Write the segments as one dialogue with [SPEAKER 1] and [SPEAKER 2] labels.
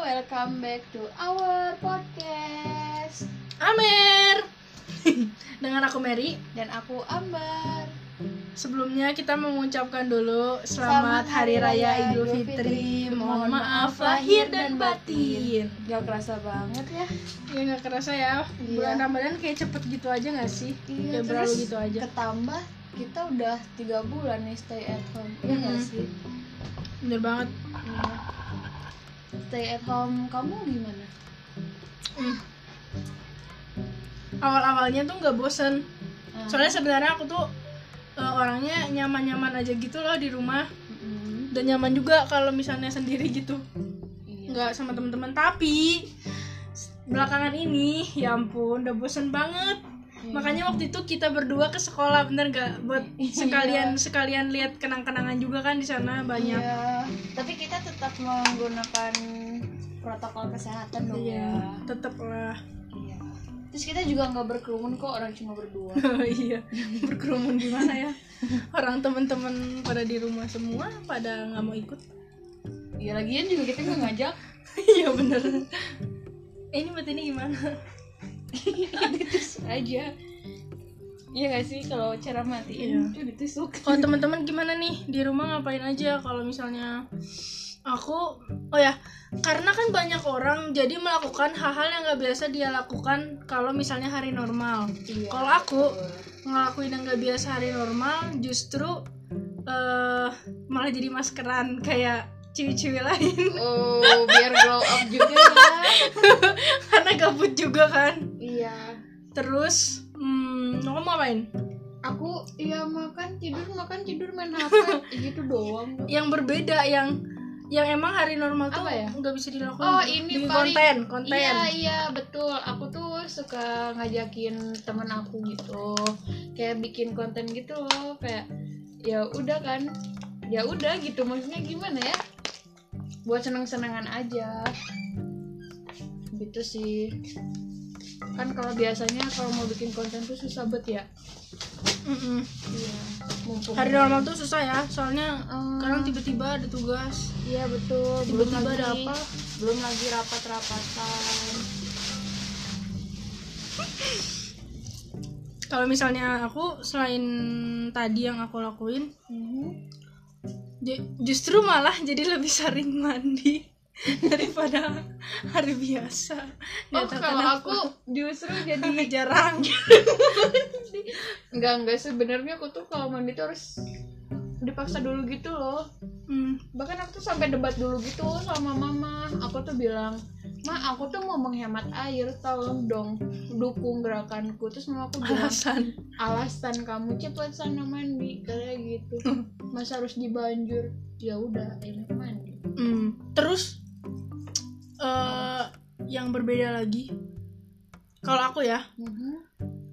[SPEAKER 1] welcome back to our podcast
[SPEAKER 2] Amer dengan aku Mary.
[SPEAKER 1] dan aku Ambar.
[SPEAKER 2] Sebelumnya kita mengucapkan dulu selamat, Hari Raya Idul Fitri. Mohon maaf lahir dan batin.
[SPEAKER 1] Gak kerasa banget ya.
[SPEAKER 2] Ya nggak kerasa ya bulan Ramadan kayak cepet gitu aja nggak sih? kayak
[SPEAKER 1] Iya,
[SPEAKER 2] berlalu
[SPEAKER 1] terus
[SPEAKER 2] gitu aja.
[SPEAKER 1] Ketambah kita udah tiga bulan nih stay at home. Iya nggak
[SPEAKER 2] Mhm.
[SPEAKER 1] sih?
[SPEAKER 2] Bener banget.
[SPEAKER 1] Iya. Stay at home kamu gimana?
[SPEAKER 2] Hmm. Awal-awalnya tuh nggak bosen.
[SPEAKER 1] Ah,
[SPEAKER 2] Soalnya sebenarnya aku tuh eh, orangnya nyaman-nyaman aja gitu loh di rumah
[SPEAKER 1] mhm.
[SPEAKER 2] dan nyaman juga kalau misalnya sendiri gitu
[SPEAKER 1] Iya.
[SPEAKER 2] nggak sama teman-teman tapi s- belakangan ini ya ampun udah bosen banget
[SPEAKER 1] Iya.
[SPEAKER 2] makanya waktu itu kita berdua ke sekolah bener gak buat
[SPEAKER 1] Iya.
[SPEAKER 2] sekalian sekalian lihat kenang-kenangan juga kan di sana banyak
[SPEAKER 1] Iya. Tapi kita tetap menggunakan protokol kesehatan dong
[SPEAKER 2] Iya.
[SPEAKER 1] ya.
[SPEAKER 2] tetep lah
[SPEAKER 1] Iya. Terus kita juga nggak berkerumun kok orang cuma berdua.
[SPEAKER 2] iya berkerumun di mana ya orang temen-temen pada di rumah semua pada nggak mau ikut
[SPEAKER 1] Iya lagian juga kita nggak ngajak.
[SPEAKER 2] iya bener eh, ini buat ini gimana
[SPEAKER 1] Terus aja. Iya gak sih kalau cara matiin tuh ditusuk.
[SPEAKER 2] kalau Oh, teman-teman gimana nih di rumah ngapain aja kalau misalnya aku oh ya karena kan banyak orang jadi melakukan hal-hal yang nggak biasa dia lakukan kalau misalnya hari normal
[SPEAKER 1] Iya.
[SPEAKER 2] kalau aku ngelakuin yang nggak biasa hari normal justru eh malah jadi maskeran kayak ciwi-ciwi lain
[SPEAKER 1] Oh, biar glow up juga ya. lah.
[SPEAKER 2] karena gabut juga kan
[SPEAKER 1] iya.
[SPEAKER 2] terus hmm, kamu mau ngapain
[SPEAKER 1] Aku ya makan tidur makan tidur main HP gitu doang.
[SPEAKER 2] yang berbeda yang yang emang hari normal tuh
[SPEAKER 1] Apa ya?
[SPEAKER 2] nggak bisa dilakukan
[SPEAKER 1] Oh, ini
[SPEAKER 2] di
[SPEAKER 1] paling-
[SPEAKER 2] konten konten
[SPEAKER 1] Iya iya betul. Aku tuh suka ngajakin temen aku gitu, kayak bikin konten gitu loh, kayak ya udah kan, ya udah gitu. Maksudnya gimana ya? Buat seneng senengan aja. Gitu sih. Kan kalau biasanya kalau mau bikin konten tuh susah banget ya.
[SPEAKER 2] Mm-mm.
[SPEAKER 1] Iya. Mumpung.
[SPEAKER 2] Hari normal tuh susah ya, soalnya
[SPEAKER 1] Hmm,
[SPEAKER 2] kadang tiba-tiba ada tugas,
[SPEAKER 1] Iya betul. Belum
[SPEAKER 2] tiba-tiba ada
[SPEAKER 1] lagi-
[SPEAKER 2] apa.
[SPEAKER 1] Belum lagi rapat rapatan.
[SPEAKER 2] Kalau misalnya aku selain tadi yang aku lakuin,
[SPEAKER 1] Mhm.
[SPEAKER 2] ju- justru malah jadi lebih sering mandi daripada hari biasa.
[SPEAKER 1] Oh
[SPEAKER 2] Dikatakan
[SPEAKER 1] kalau aku justru jadi
[SPEAKER 2] aku jarang.
[SPEAKER 1] Enggak, enggak sebenarnya aku tuh kalau mandi tuh harus dipaksa dulu gitu loh.
[SPEAKER 2] Hmm,
[SPEAKER 1] Bahkan aku tuh sampai debat dulu gitu sama mama. Aku tuh bilang, "Ma, aku tuh mau menghemat air, tolong dong dukung gerakanku." Terus mama aku bilang,
[SPEAKER 2] alasan.
[SPEAKER 1] "Alasan kamu cepat sana mandi." Kayak gitu. Masa harus dibanjur? Ya udah, enak mandi.
[SPEAKER 2] Hmm, Terus eh yang berbeda lagi, kalau aku ya,
[SPEAKER 1] Mhm.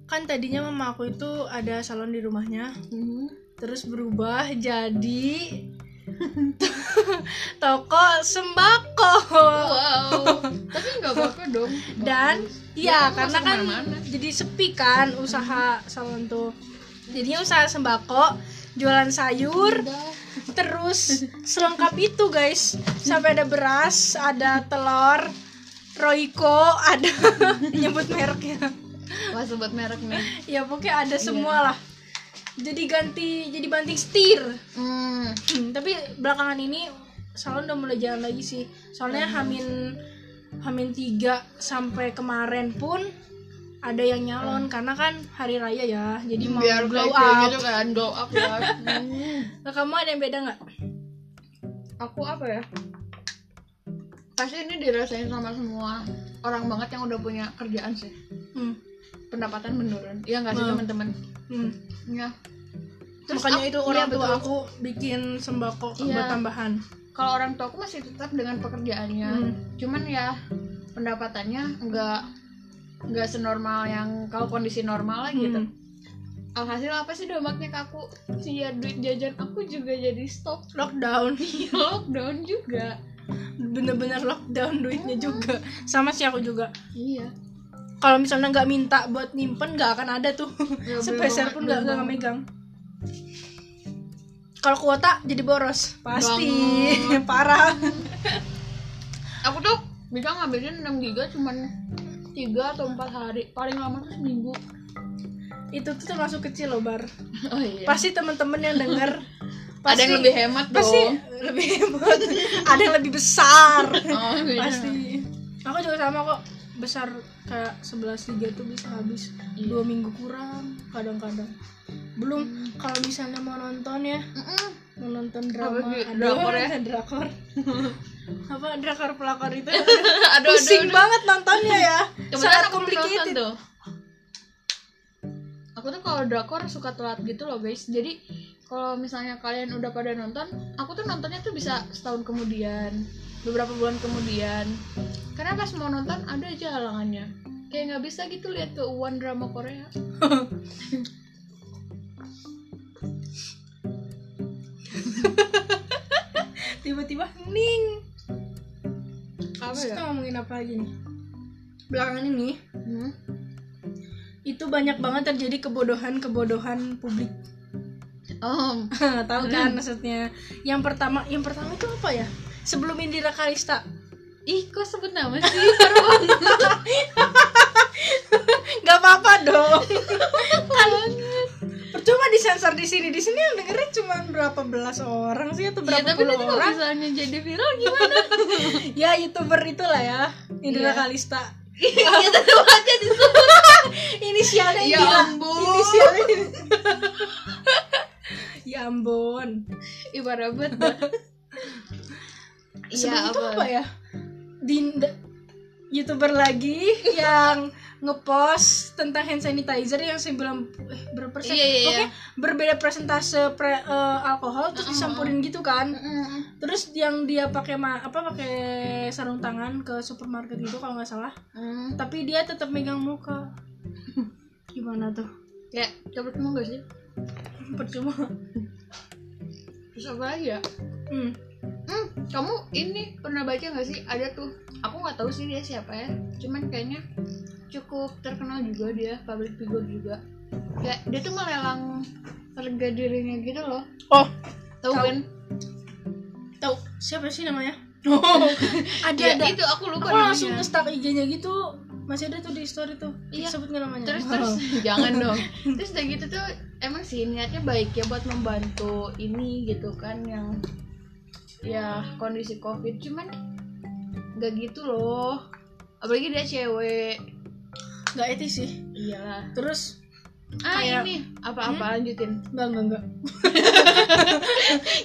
[SPEAKER 2] kan tadinya mama aku itu ada salon di rumahnya.
[SPEAKER 1] Mhm.
[SPEAKER 2] terus berubah jadi toko sembako
[SPEAKER 1] Wow. Tapi nggak apa-apa dong.
[SPEAKER 2] dan
[SPEAKER 1] Ya,
[SPEAKER 2] ya,
[SPEAKER 1] kamu
[SPEAKER 2] karena
[SPEAKER 1] masuk
[SPEAKER 2] kan
[SPEAKER 1] mana-mana.
[SPEAKER 2] jadi sepi kan usaha salon tuh jadinya usaha sembako jualan sayur
[SPEAKER 1] Udah.
[SPEAKER 2] terus selengkap itu guys sampai ada beras ada telur Royco ada nyebut mereknya
[SPEAKER 1] Wah, sobat merek nih.
[SPEAKER 2] ya pokoknya ada semua lah jadi ganti jadi banting setir
[SPEAKER 1] Hmm.
[SPEAKER 2] Hmm, tapi belakangan ini salon udah mulai jalan lagi sih. Soalnya Hamin Hamin 3 sampai kemarin pun ada yang nyalon karena kan hari raya ya. Jadi mau
[SPEAKER 1] biar
[SPEAKER 2] glow
[SPEAKER 1] kayak
[SPEAKER 2] up.
[SPEAKER 1] gitu kan glow up ya Hmm.
[SPEAKER 2] Nah, kamu ada yang beda nggak?
[SPEAKER 1] aku apa ya pasti ini dirasain sama semua orang banget yang udah punya kerjaan sih
[SPEAKER 2] Hmm.
[SPEAKER 1] pendapatan menurun ya nggak sih
[SPEAKER 2] Hmm.
[SPEAKER 1] teman-teman
[SPEAKER 2] hmm.
[SPEAKER 1] ya
[SPEAKER 2] Makanya
[SPEAKER 1] aku-
[SPEAKER 2] itu
[SPEAKER 1] iya,
[SPEAKER 2] orang tua
[SPEAKER 1] betul.
[SPEAKER 2] aku bikin sembako
[SPEAKER 1] Iya.
[SPEAKER 2] buat tambahan.
[SPEAKER 1] kalau orang tua aku masih tetap dengan pekerjaannya
[SPEAKER 2] Hmm.
[SPEAKER 1] cuman ya pendapatannya nggak nggak senormal yang kalau kondisi normal lah gitu
[SPEAKER 2] Hmm.
[SPEAKER 1] alhasil apa sih dampaknya ke aku sih ya duit jajan aku juga jadi stop
[SPEAKER 2] Lockdown.
[SPEAKER 1] lockdown juga
[SPEAKER 2] Bener-bener lockdown duitnya juga. Sama sih aku juga.
[SPEAKER 1] iya
[SPEAKER 2] Kalau misalnya nggak minta buat nyimpen nggak akan ada tuh.
[SPEAKER 1] Ya,
[SPEAKER 2] sepeser
[SPEAKER 1] belum-
[SPEAKER 2] pun nggak
[SPEAKER 1] belum-
[SPEAKER 2] nggak megang kalau kuota jadi boros pasti parah
[SPEAKER 1] aku tuh bisa ngabisin 6 giga cuman 3 atau 4 hari paling lama tuh seminggu
[SPEAKER 2] itu tuh termasuk kecil loh bar
[SPEAKER 1] oh iya
[SPEAKER 2] pasti teman-teman yang denger
[SPEAKER 1] ada yang lebih hemat
[SPEAKER 2] pasti
[SPEAKER 1] dong
[SPEAKER 2] lebih hebat ada yang lebih besar
[SPEAKER 1] oh, iya.
[SPEAKER 2] pasti aku juga sama kok besar kayak 11 liga tuh bisa habis
[SPEAKER 1] Iya.
[SPEAKER 2] dua minggu kurang kadang-kadang belum kalau misalnya mau nonton ya
[SPEAKER 1] Mm-mm.
[SPEAKER 2] mau nonton drama
[SPEAKER 1] Apa sih?
[SPEAKER 2] aduh,
[SPEAKER 1] Drakor ya?
[SPEAKER 2] drakor apa drakor pelakor itu
[SPEAKER 1] aduh aduh
[SPEAKER 2] pusing banget nontonnya ya
[SPEAKER 1] Kebetulan
[SPEAKER 2] sangat
[SPEAKER 1] aku belum nonton
[SPEAKER 2] complicated
[SPEAKER 1] tuh. Aku tuh kalau drakor suka telat gitu loh guys. Jadi kalau misalnya kalian udah pada nonton, aku tuh nontonnya tuh bisa setahun kemudian, beberapa bulan kemudian. Karena pas mau nonton ada aja halangannya. Kayak nggak bisa gitu lihat ke one drama Korea.
[SPEAKER 2] tiba-tiba ning
[SPEAKER 1] Apa
[SPEAKER 2] Terus kita
[SPEAKER 1] ya?
[SPEAKER 2] ngomongin apa lagi nih belakangan ini
[SPEAKER 1] Hmm?
[SPEAKER 2] itu banyak banget terjadi kebodohan-kebodohan publik
[SPEAKER 1] Om,
[SPEAKER 2] tahu
[SPEAKER 1] Hmm.
[SPEAKER 2] kan maksudnya yang pertama yang pertama itu apa ya sebelum Indira Kalista
[SPEAKER 1] ih kok sebut nama sih? Parah banget.
[SPEAKER 2] nggak apa-apa dong kan percuma disensor di sini di sini yang dengerin cuma berapa belas orang sih atau
[SPEAKER 1] ya,
[SPEAKER 2] berapa
[SPEAKER 1] tapi
[SPEAKER 2] puluh
[SPEAKER 1] nanti kalau
[SPEAKER 2] orang
[SPEAKER 1] misalnya jadi viral gimana?
[SPEAKER 2] ya youtuber itulah ya Indira
[SPEAKER 1] Iya.
[SPEAKER 2] Kalista
[SPEAKER 1] ya tetap aja disebut.
[SPEAKER 2] inisialnya
[SPEAKER 1] Ya
[SPEAKER 2] Indira
[SPEAKER 1] ampun.
[SPEAKER 2] inisialnya ya ampun
[SPEAKER 1] Ih, parah banget. dah. Iya,
[SPEAKER 2] sebelum itu
[SPEAKER 1] apa?
[SPEAKER 2] apa ya Dinda youtuber lagi yang ngepost tentang hand sanitizer yang sembilan eh, berapa persen
[SPEAKER 1] Iya, iya, iya.
[SPEAKER 2] Pokoknya berbeda persentase pre- eh, alkohol terus disampurin gitu kan
[SPEAKER 1] Mm-mm.
[SPEAKER 2] terus yang dia pakai ma- apa pakai sarung tangan ke supermarket gitu kalau nggak salah
[SPEAKER 1] Hmm,
[SPEAKER 2] tapi dia tetap megang muka gimana tuh
[SPEAKER 1] kayak coba cuma gak sih?
[SPEAKER 2] percuma
[SPEAKER 1] Terus apa lagi ya?
[SPEAKER 2] hmm.
[SPEAKER 1] Hmm, kamu ini pernah baca gak sih? Ada tuh, aku nggak tahu sih dia siapa ya. Cuman kayaknya cukup terkenal juga dia, public figure juga. Kayak dia tuh melelang harga dirinya gitu loh.
[SPEAKER 2] oh
[SPEAKER 1] Tahu
[SPEAKER 2] Tahu.
[SPEAKER 1] kan?
[SPEAKER 2] tahu siapa sih namanya oh ada
[SPEAKER 1] Ya,
[SPEAKER 2] ada
[SPEAKER 1] itu aku lupa
[SPEAKER 2] aku langsung
[SPEAKER 1] namanya.
[SPEAKER 2] nge-stalk IG-nya gitu masih ada tuh di story tuh
[SPEAKER 1] Iya.
[SPEAKER 2] sebut nggak namanya
[SPEAKER 1] terus terus jangan dong terus udah gitu tuh emang sih niatnya baik ya buat membantu ini gitu kan yang ya kondisi covid cuman nggak gitu loh apalagi dia cewek
[SPEAKER 2] nggak etis sih
[SPEAKER 1] iyalah
[SPEAKER 2] terus
[SPEAKER 1] ah
[SPEAKER 2] Kayak-
[SPEAKER 1] ini Hmm? apa-apa lanjutin
[SPEAKER 2] nggak nggak nggak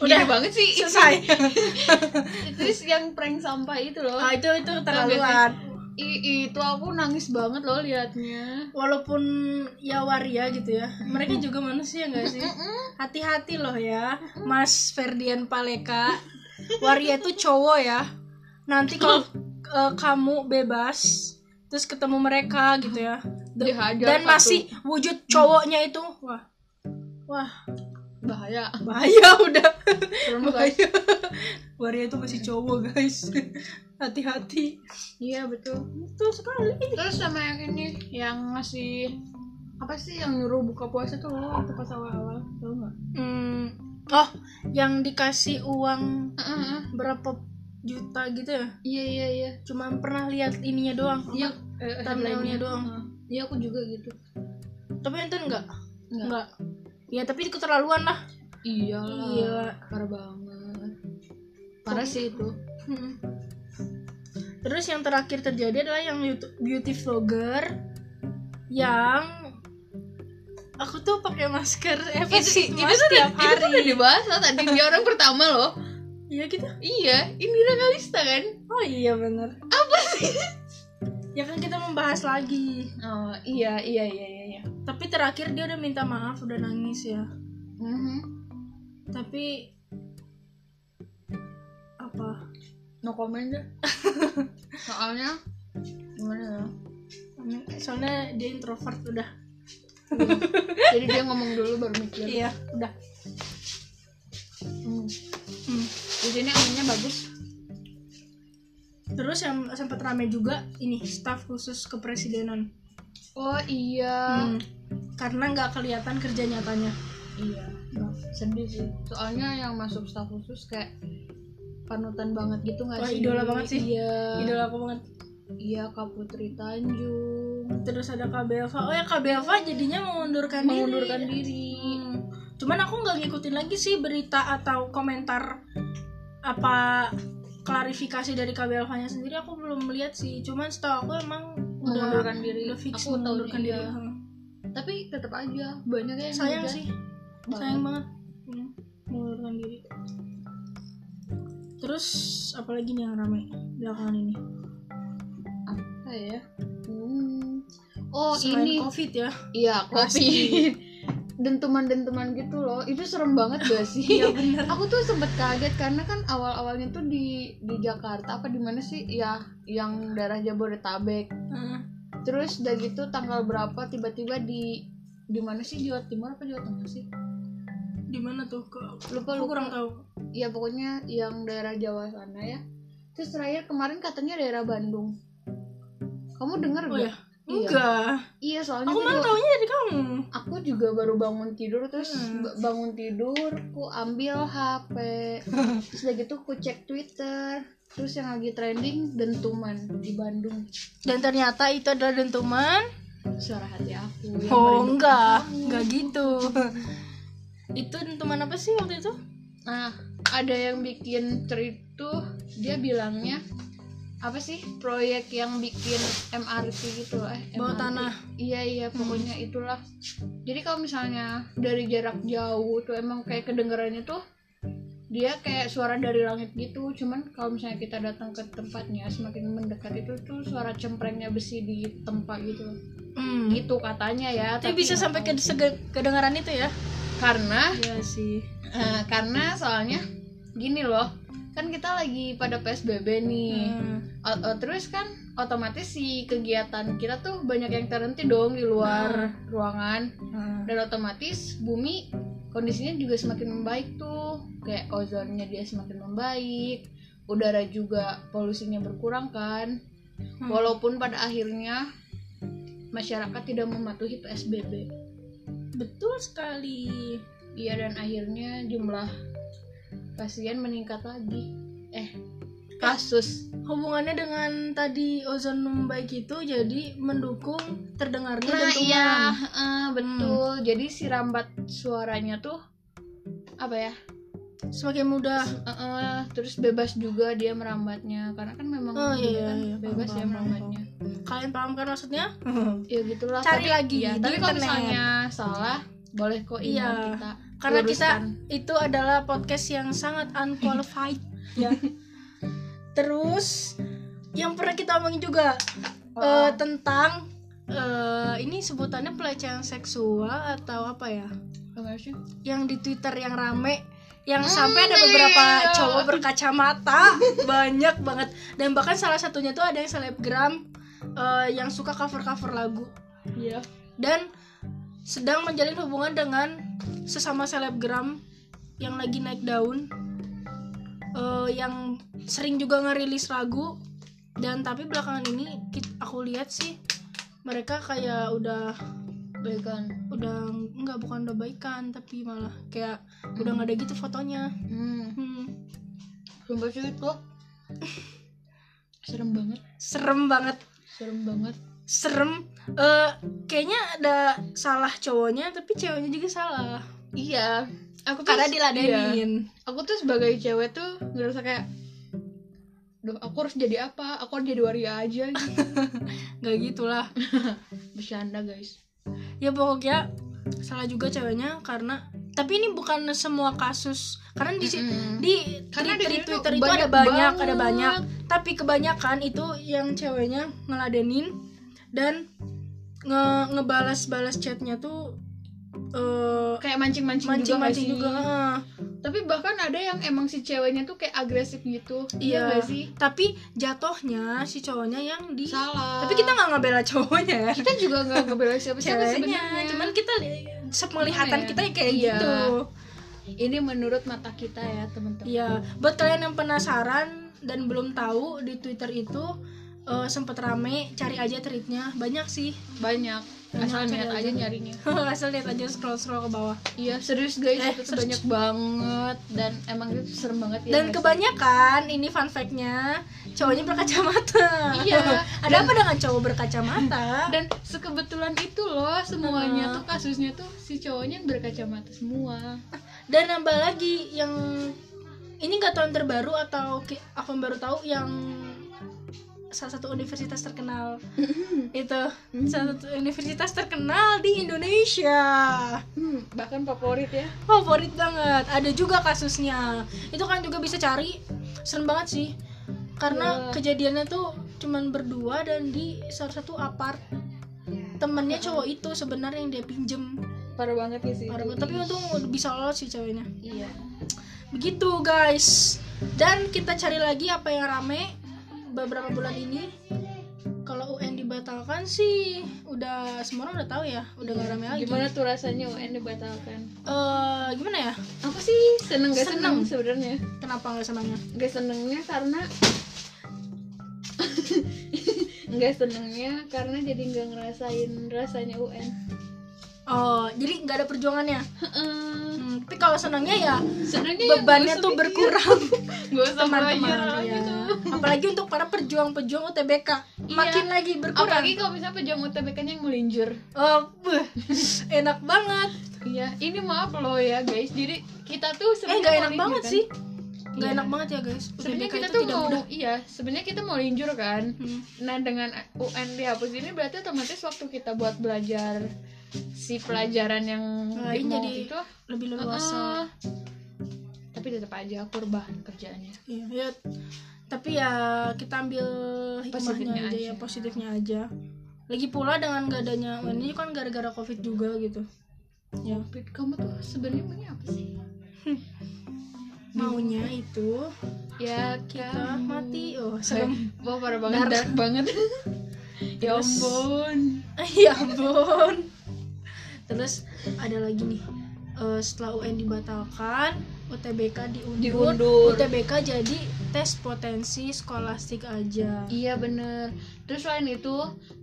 [SPEAKER 1] udah banget sih
[SPEAKER 2] selesai
[SPEAKER 1] Iya. terus yang prank sampah itu loh
[SPEAKER 2] ah itu itu terlaluan
[SPEAKER 1] I- itu aku nangis banget loh liatnya
[SPEAKER 2] walaupun ya waria gitu ya mereka juga manusia nggak sih hati-hati loh ya Mas Ferdian Paleka waria itu cowok ya nanti kalau eh, kamu bebas terus ketemu mereka gitu ya
[SPEAKER 1] Dihajar
[SPEAKER 2] dan
[SPEAKER 1] satu.
[SPEAKER 2] masih wujud cowoknya itu wah wah
[SPEAKER 1] bahaya
[SPEAKER 2] bahaya udah
[SPEAKER 1] serem guys
[SPEAKER 2] bahaya waria itu masih cowok guys hati-hati
[SPEAKER 1] iya betul
[SPEAKER 2] itu sekali
[SPEAKER 1] Terus sama yang ini yang ngasih apa sih yang nyuruh buka puasa tuh lo waktu pas awal-awal tau nggak?
[SPEAKER 2] hmm. oh yang dikasih uang
[SPEAKER 1] Heeh.
[SPEAKER 2] berapa juta gitu ya
[SPEAKER 1] Iya iya iya.
[SPEAKER 2] cuma pernah lihat ininya doang
[SPEAKER 1] Iya.
[SPEAKER 2] Apa?
[SPEAKER 1] eh,
[SPEAKER 2] thumbnailnya
[SPEAKER 1] headline-nya.
[SPEAKER 2] doang.
[SPEAKER 1] Heeh. Iya aku juga gitu.
[SPEAKER 2] tapi enten enggak
[SPEAKER 1] Nggak.
[SPEAKER 2] enggak ya tapi keterlaluan lah
[SPEAKER 1] Iya.
[SPEAKER 2] Iya.
[SPEAKER 1] Parah banget. Parah sih itu.
[SPEAKER 2] Mm-mm. Terus yang terakhir terjadi adalah yang YouTube beauty vlogger yang aku tuh pakai masker eh face
[SPEAKER 1] itu,
[SPEAKER 2] mask
[SPEAKER 1] tuh udah,
[SPEAKER 2] tiap
[SPEAKER 1] itu tuh
[SPEAKER 2] hari.
[SPEAKER 1] udah dibahas loh tadi dia orang pertama loh.
[SPEAKER 2] Iya gitu.
[SPEAKER 1] Iya, Indira Kalista kan?
[SPEAKER 2] Oh iya bener Apa sih? ya kan kita membahas lagi
[SPEAKER 1] Oh, iya iya iya iya. iya.
[SPEAKER 2] Tapi terakhir dia udah minta maaf Udah nangis ya
[SPEAKER 1] Mhm.
[SPEAKER 2] Tapi Apa?
[SPEAKER 1] No comment deh. Soalnya gimana ya?
[SPEAKER 2] Soalnya dia introvert udah
[SPEAKER 1] Jadi dia ngomong dulu baru mikir.
[SPEAKER 2] Iya udah
[SPEAKER 1] Hmm.
[SPEAKER 2] Hmm.
[SPEAKER 1] Di sini anginnya bagus.
[SPEAKER 2] Terus yang sempat rame juga Ini staf khusus kepresidenan
[SPEAKER 1] Oh iya.
[SPEAKER 2] Hmm. Karena nggak kelihatan kerja nyatanya
[SPEAKER 1] Iya. Sedih sih. Soalnya yang masuk staf khusus kayak panutan banget gitu nggak
[SPEAKER 2] Wah,
[SPEAKER 1] sih?
[SPEAKER 2] idola banget sih.
[SPEAKER 1] Iya.
[SPEAKER 2] idola aku banget
[SPEAKER 1] Iya Kak Putri Tanjung
[SPEAKER 2] terus ada Kak Belva oh ya Kak Belva jadinya mengundurkan,
[SPEAKER 1] mengundurkan
[SPEAKER 2] diri.
[SPEAKER 1] diri.
[SPEAKER 2] Hmm, cuman aku nggak ngikutin lagi sih berita atau komentar apa klarifikasi dari Kak Belvanya sendiri aku belum melihat sih cuman setahu aku emang udah
[SPEAKER 1] Mengundurkan diri.
[SPEAKER 2] udah fix
[SPEAKER 1] Aku mengundurkan
[SPEAKER 2] iya.
[SPEAKER 1] diri. Tapi tetap aja banyak yang
[SPEAKER 2] sayang
[SPEAKER 1] juga
[SPEAKER 2] sih
[SPEAKER 1] banget.
[SPEAKER 2] sayang banget
[SPEAKER 1] Iya,
[SPEAKER 2] Hmm, mengundurkan diri terus apalagi nih yang ramai belakangan ini
[SPEAKER 1] Apa ya? Hmm. Oh
[SPEAKER 2] selain
[SPEAKER 1] ini
[SPEAKER 2] covid ya
[SPEAKER 1] Iya,
[SPEAKER 2] Pasti.
[SPEAKER 1] kopi. Dentuman-dentuman gitu loh. Itu serem banget gak sih?
[SPEAKER 2] Iya, bener
[SPEAKER 1] Aku tuh sempet kaget karena kan awal-awalnya tuh di di Jakarta apa di mana sih? Ya, yang daerah Jabodetabek. Terus udah gitu tanggal berapa tiba-tiba di di mana sih Jawa Timur apa Jawa Tengah sih?
[SPEAKER 2] di mana tuh Ke-
[SPEAKER 1] Lupa
[SPEAKER 2] aku
[SPEAKER 1] lupa.
[SPEAKER 2] kurang tahu
[SPEAKER 1] Ya pokoknya yang daerah Jawa sana ya. Terus terakhir kemarin katanya daerah Bandung. Kamu denger
[SPEAKER 2] oh
[SPEAKER 1] gak?
[SPEAKER 2] ya
[SPEAKER 1] Iya.
[SPEAKER 2] enggak
[SPEAKER 1] Iya, soalnya
[SPEAKER 2] aku
[SPEAKER 1] tuh
[SPEAKER 2] malah
[SPEAKER 1] Jawa-
[SPEAKER 2] taunya dari kamu
[SPEAKER 1] aku juga baru bangun tidur terus
[SPEAKER 2] Hmm.
[SPEAKER 1] ba- bangun tidur ku ambil HP terus udah gitu ku cek Twitter terus yang lagi trending dentuman di Bandung
[SPEAKER 2] dan ternyata itu adalah dentuman
[SPEAKER 1] suara hati aku yang
[SPEAKER 2] oh
[SPEAKER 1] merindu-
[SPEAKER 2] enggak enggak gitu itu dentuman apa sih waktu itu
[SPEAKER 1] nah ada yang bikin tweet tuh dia bilangnya apa sih proyek yang bikin MRT gitu eh
[SPEAKER 2] bawah
[SPEAKER 1] MRT.
[SPEAKER 2] tanah
[SPEAKER 1] iya iya pokoknya itulah jadi kalau misalnya dari jarak jauh tuh emang kayak kedengarannya tuh dia kayak suara dari langit gitu cuman kalau misalnya kita datang ke tempatnya semakin mendekat itu tuh suara cemprengnya besi di tempat gitu
[SPEAKER 2] hmm.
[SPEAKER 1] gitu katanya ya
[SPEAKER 2] tapi bisa sampai ke sege- kedengaran itu ya
[SPEAKER 1] karena
[SPEAKER 2] iya sih
[SPEAKER 1] eh, karena soalnya gini loh kan kita lagi pada PSBB nih
[SPEAKER 2] Hmm. Iya.
[SPEAKER 1] O- o- terus kan otomatis si kegiatan kita tuh banyak yang terhenti dong di luar ruangan dan otomatis bumi kondisinya juga semakin membaik tuh kayak ozonnya dia semakin membaik udara juga polusinya berkurang kan walaupun pada akhirnya masyarakat tidak mematuhi PSBB
[SPEAKER 2] betul sekali
[SPEAKER 1] iya dan akhirnya jumlah pasien meningkat lagi eh kasus
[SPEAKER 2] hubungannya dengan tadi ozon membaik itu jadi mendukung terdengarnya
[SPEAKER 1] nah
[SPEAKER 2] dentuman
[SPEAKER 1] iya eh, betul jadi si rambat suaranya tuh apa ya
[SPEAKER 2] semakin mudah
[SPEAKER 1] Heeh, terus bebas juga dia merambatnya karena kan memang
[SPEAKER 2] Oh,
[SPEAKER 1] dia
[SPEAKER 2] iya,
[SPEAKER 1] kan
[SPEAKER 2] iya, paham,
[SPEAKER 1] bebas ya
[SPEAKER 2] paham,
[SPEAKER 1] merambatnya
[SPEAKER 2] kalian paham kan maksudnya
[SPEAKER 1] ya gitulah
[SPEAKER 2] Cari
[SPEAKER 1] Tapi-
[SPEAKER 2] lagi
[SPEAKER 1] iya,
[SPEAKER 2] di
[SPEAKER 1] tapi kalau
[SPEAKER 2] internet.
[SPEAKER 1] misalnya salah boleh kok gitu. email
[SPEAKER 2] Iya,
[SPEAKER 1] kita
[SPEAKER 2] karena kita
[SPEAKER 1] Luruskan.
[SPEAKER 2] itu adalah podcast yang sangat unqualified ya terus yang pernah kita omongin juga
[SPEAKER 1] Oh.
[SPEAKER 2] eh, tentang eh, ini sebutannya pelecehan seksual atau apa ya
[SPEAKER 1] Gimana sih?
[SPEAKER 2] yang di twitter yang rame yang
[SPEAKER 1] Hmm,
[SPEAKER 2] sampai ada
[SPEAKER 1] iya,
[SPEAKER 2] beberapa
[SPEAKER 1] iya, iya.
[SPEAKER 2] cowok berkacamata banyak banget dan bahkan salah satunya tuh ada yang selebgram eh, yang suka cover cover lagu
[SPEAKER 1] iya
[SPEAKER 2] dan sedang menjalin hubungan dengan sesama selebgram yang lagi naik daun eh, yang sering juga ngerilis lagu dan tapi belakangan ini kit- aku lihat sih mereka kayak udah
[SPEAKER 1] baikan
[SPEAKER 2] udah nggak bukan udah baikan tapi malah kayak udah nggak ada gitu fotonya
[SPEAKER 1] hmm
[SPEAKER 2] Hmm,
[SPEAKER 1] sumpah sih itu serem banget
[SPEAKER 2] serem banget
[SPEAKER 1] serem banget
[SPEAKER 2] serem Eh, kayaknya ada salah cowoknya tapi ceweknya juga salah
[SPEAKER 1] iya aku tuh
[SPEAKER 2] karena
[SPEAKER 1] iya.
[SPEAKER 2] diladenin
[SPEAKER 1] aku tuh sebagai cewek tuh ngerasa kayak Duh, aku harus jadi apa? Aku harus jadi waria aja gitu.
[SPEAKER 2] nggak gitulah
[SPEAKER 1] Bercanda guys
[SPEAKER 2] ya pokoknya salah juga ceweknya karena tapi ini bukan semua kasus karena di si-
[SPEAKER 1] Mm-mm.
[SPEAKER 2] di tweet-
[SPEAKER 1] Karena dari
[SPEAKER 2] tweet-
[SPEAKER 1] dulu
[SPEAKER 2] Twitter itu ada
[SPEAKER 1] banyak
[SPEAKER 2] banyak ada
[SPEAKER 1] banget.
[SPEAKER 2] banyak tapi kebanyakan itu yang ceweknya ngeladenin dan nge ngebalas-balas chatnya tuh eh
[SPEAKER 1] kayak mancing-mancing juga nggak
[SPEAKER 2] mancing-mancing
[SPEAKER 1] sih?
[SPEAKER 2] juga, heeh.
[SPEAKER 1] tapi bahkan ada yang emang si ceweknya tuh kayak agresif gitu
[SPEAKER 2] Iya.
[SPEAKER 1] nggak sih
[SPEAKER 2] tapi jatuhnya si cowoknya yang di
[SPEAKER 1] salah
[SPEAKER 2] tapi kita nggak ngebela cowoknya ya
[SPEAKER 1] kita kan juga nggak ngebela siapa siapa
[SPEAKER 2] ceweknya
[SPEAKER 1] sebenarnya
[SPEAKER 2] cuman kita li- sepenglihatan
[SPEAKER 1] Gimana ya?
[SPEAKER 2] kita kayak
[SPEAKER 1] Iya.
[SPEAKER 2] gitu
[SPEAKER 1] ini menurut mata kita ya teman-teman
[SPEAKER 2] Iya, buat kalian yang penasaran dan belum tahu di Twitter itu eh, sempet rame, cari aja tweetnya banyak sih.
[SPEAKER 1] banyak asal
[SPEAKER 2] Macet
[SPEAKER 1] niat
[SPEAKER 2] aja.
[SPEAKER 1] aja nyarinya
[SPEAKER 2] asal lihat aja scroll scroll ke bawah
[SPEAKER 1] iya serius guys
[SPEAKER 2] Eh,
[SPEAKER 1] itu tuh
[SPEAKER 2] search.
[SPEAKER 1] banyak banget dan emang itu serem banget ya
[SPEAKER 2] dan
[SPEAKER 1] guys?
[SPEAKER 2] kebanyakan ini fun fact-nya cowoknya berkacamata
[SPEAKER 1] Iya.
[SPEAKER 2] ada apa dengan cowok berkacamata
[SPEAKER 1] dan sekebetulan itu loh semuanya tuh kasusnya tuh si cowoknya yang berkacamata semua
[SPEAKER 2] dan nambah lagi yang ini nggak tahun terbaru atau ki- aku baru tahu yang salah satu universitas terkenal itu salah satu universitas terkenal di Indonesia
[SPEAKER 1] Hmm, bahkan favorit ya
[SPEAKER 2] favorit banget ada juga kasusnya itu kan juga bisa cari serem banget sih karena
[SPEAKER 1] Iya.
[SPEAKER 2] kejadiannya tuh cuman berdua dan di salah satu apart temennya cowok itu sebenarnya yang dia pinjem
[SPEAKER 1] parah banget ya sih
[SPEAKER 2] Parah
[SPEAKER 1] itu.
[SPEAKER 2] banget. tapi untung bisa lolos sih ceweknya
[SPEAKER 1] iya
[SPEAKER 2] begitu guys dan kita cari lagi apa yang rame beberapa bulan ini kalau UN dibatalkan sih udah semua orang udah tahu ya udah gak rame lagi
[SPEAKER 1] gimana tuh rasanya UN dibatalkan
[SPEAKER 2] Eh, gimana ya
[SPEAKER 1] aku sih seneng gak seneng,
[SPEAKER 2] Seneng.
[SPEAKER 1] sebenarnya
[SPEAKER 2] kenapa nggak senangnya
[SPEAKER 1] gak senengnya karena nggak senengnya karena jadi nggak ngerasain rasanya UN
[SPEAKER 2] Oh, jadi nggak ada perjuangannya.
[SPEAKER 1] Heeh.
[SPEAKER 2] Hmm, tapi kalau senangnya ya
[SPEAKER 1] senengnya ya
[SPEAKER 2] bebannya
[SPEAKER 1] nggak usah
[SPEAKER 2] tuh
[SPEAKER 1] mikir.
[SPEAKER 2] berkurang
[SPEAKER 1] Nggak usah
[SPEAKER 2] teman-teman.
[SPEAKER 1] belajar
[SPEAKER 2] ya.
[SPEAKER 1] gitu Iya.
[SPEAKER 2] Apalagi untuk para perjuang-perjuang UTBK, makin lagi berkurang.
[SPEAKER 1] apalagi kalau misalnya pejam UTBK nya yang meluncur
[SPEAKER 2] Oh, beuh, enak banget.
[SPEAKER 1] iya ini maaf loh ya guys jadi kita tuh
[SPEAKER 2] Eh,
[SPEAKER 1] sebenarnya
[SPEAKER 2] nggak
[SPEAKER 1] mau
[SPEAKER 2] enak
[SPEAKER 1] linjur,
[SPEAKER 2] banget
[SPEAKER 1] kan?
[SPEAKER 2] sih. Nggak
[SPEAKER 1] Iya.
[SPEAKER 2] enak banget ya guys.
[SPEAKER 1] sebenarnya
[SPEAKER 2] UTBK
[SPEAKER 1] kita
[SPEAKER 2] itu
[SPEAKER 1] tuh
[SPEAKER 2] tidak
[SPEAKER 1] mau
[SPEAKER 2] mudah.
[SPEAKER 1] iya sebenarnya kita mau linjur kan
[SPEAKER 2] Hmm.
[SPEAKER 1] Nah dengan UN dihapus ini berarti otomatis waktu kita buat belajar si pelajaran yang
[SPEAKER 2] Lain
[SPEAKER 1] di- gitu. mau
[SPEAKER 2] Ah, jadi
[SPEAKER 1] itu
[SPEAKER 2] Lebih leluasa.
[SPEAKER 1] eh, tapi tetap aja aku rebahan kerjaannya.
[SPEAKER 2] Iya, ya. Tapi ya kita ambil
[SPEAKER 1] Positifnya
[SPEAKER 2] hikmahnya aja, ya,
[SPEAKER 1] aja.
[SPEAKER 2] positifnya aja. Lagi pula dengan gak adanya UN ini kan gara-gara Covid juga gitu. Ya.
[SPEAKER 1] Pit, Kamu tuh sebenarnya punya apa sih?
[SPEAKER 2] Maunya itu
[SPEAKER 1] Ya
[SPEAKER 2] kita
[SPEAKER 1] kamu.
[SPEAKER 2] mati oh
[SPEAKER 1] Eh,
[SPEAKER 2] serem
[SPEAKER 1] Wah parah banget, dark,
[SPEAKER 2] Dark.
[SPEAKER 1] banget. ya
[SPEAKER 2] Terus-
[SPEAKER 1] ampun.
[SPEAKER 2] ya ampun terus ada lagi nih Eh, setelah UN dibatalkan UTBK diundur,
[SPEAKER 1] Diundur.
[SPEAKER 2] UTBK jadi tes potensi skolastik aja
[SPEAKER 1] Iya bener. Terus selain itu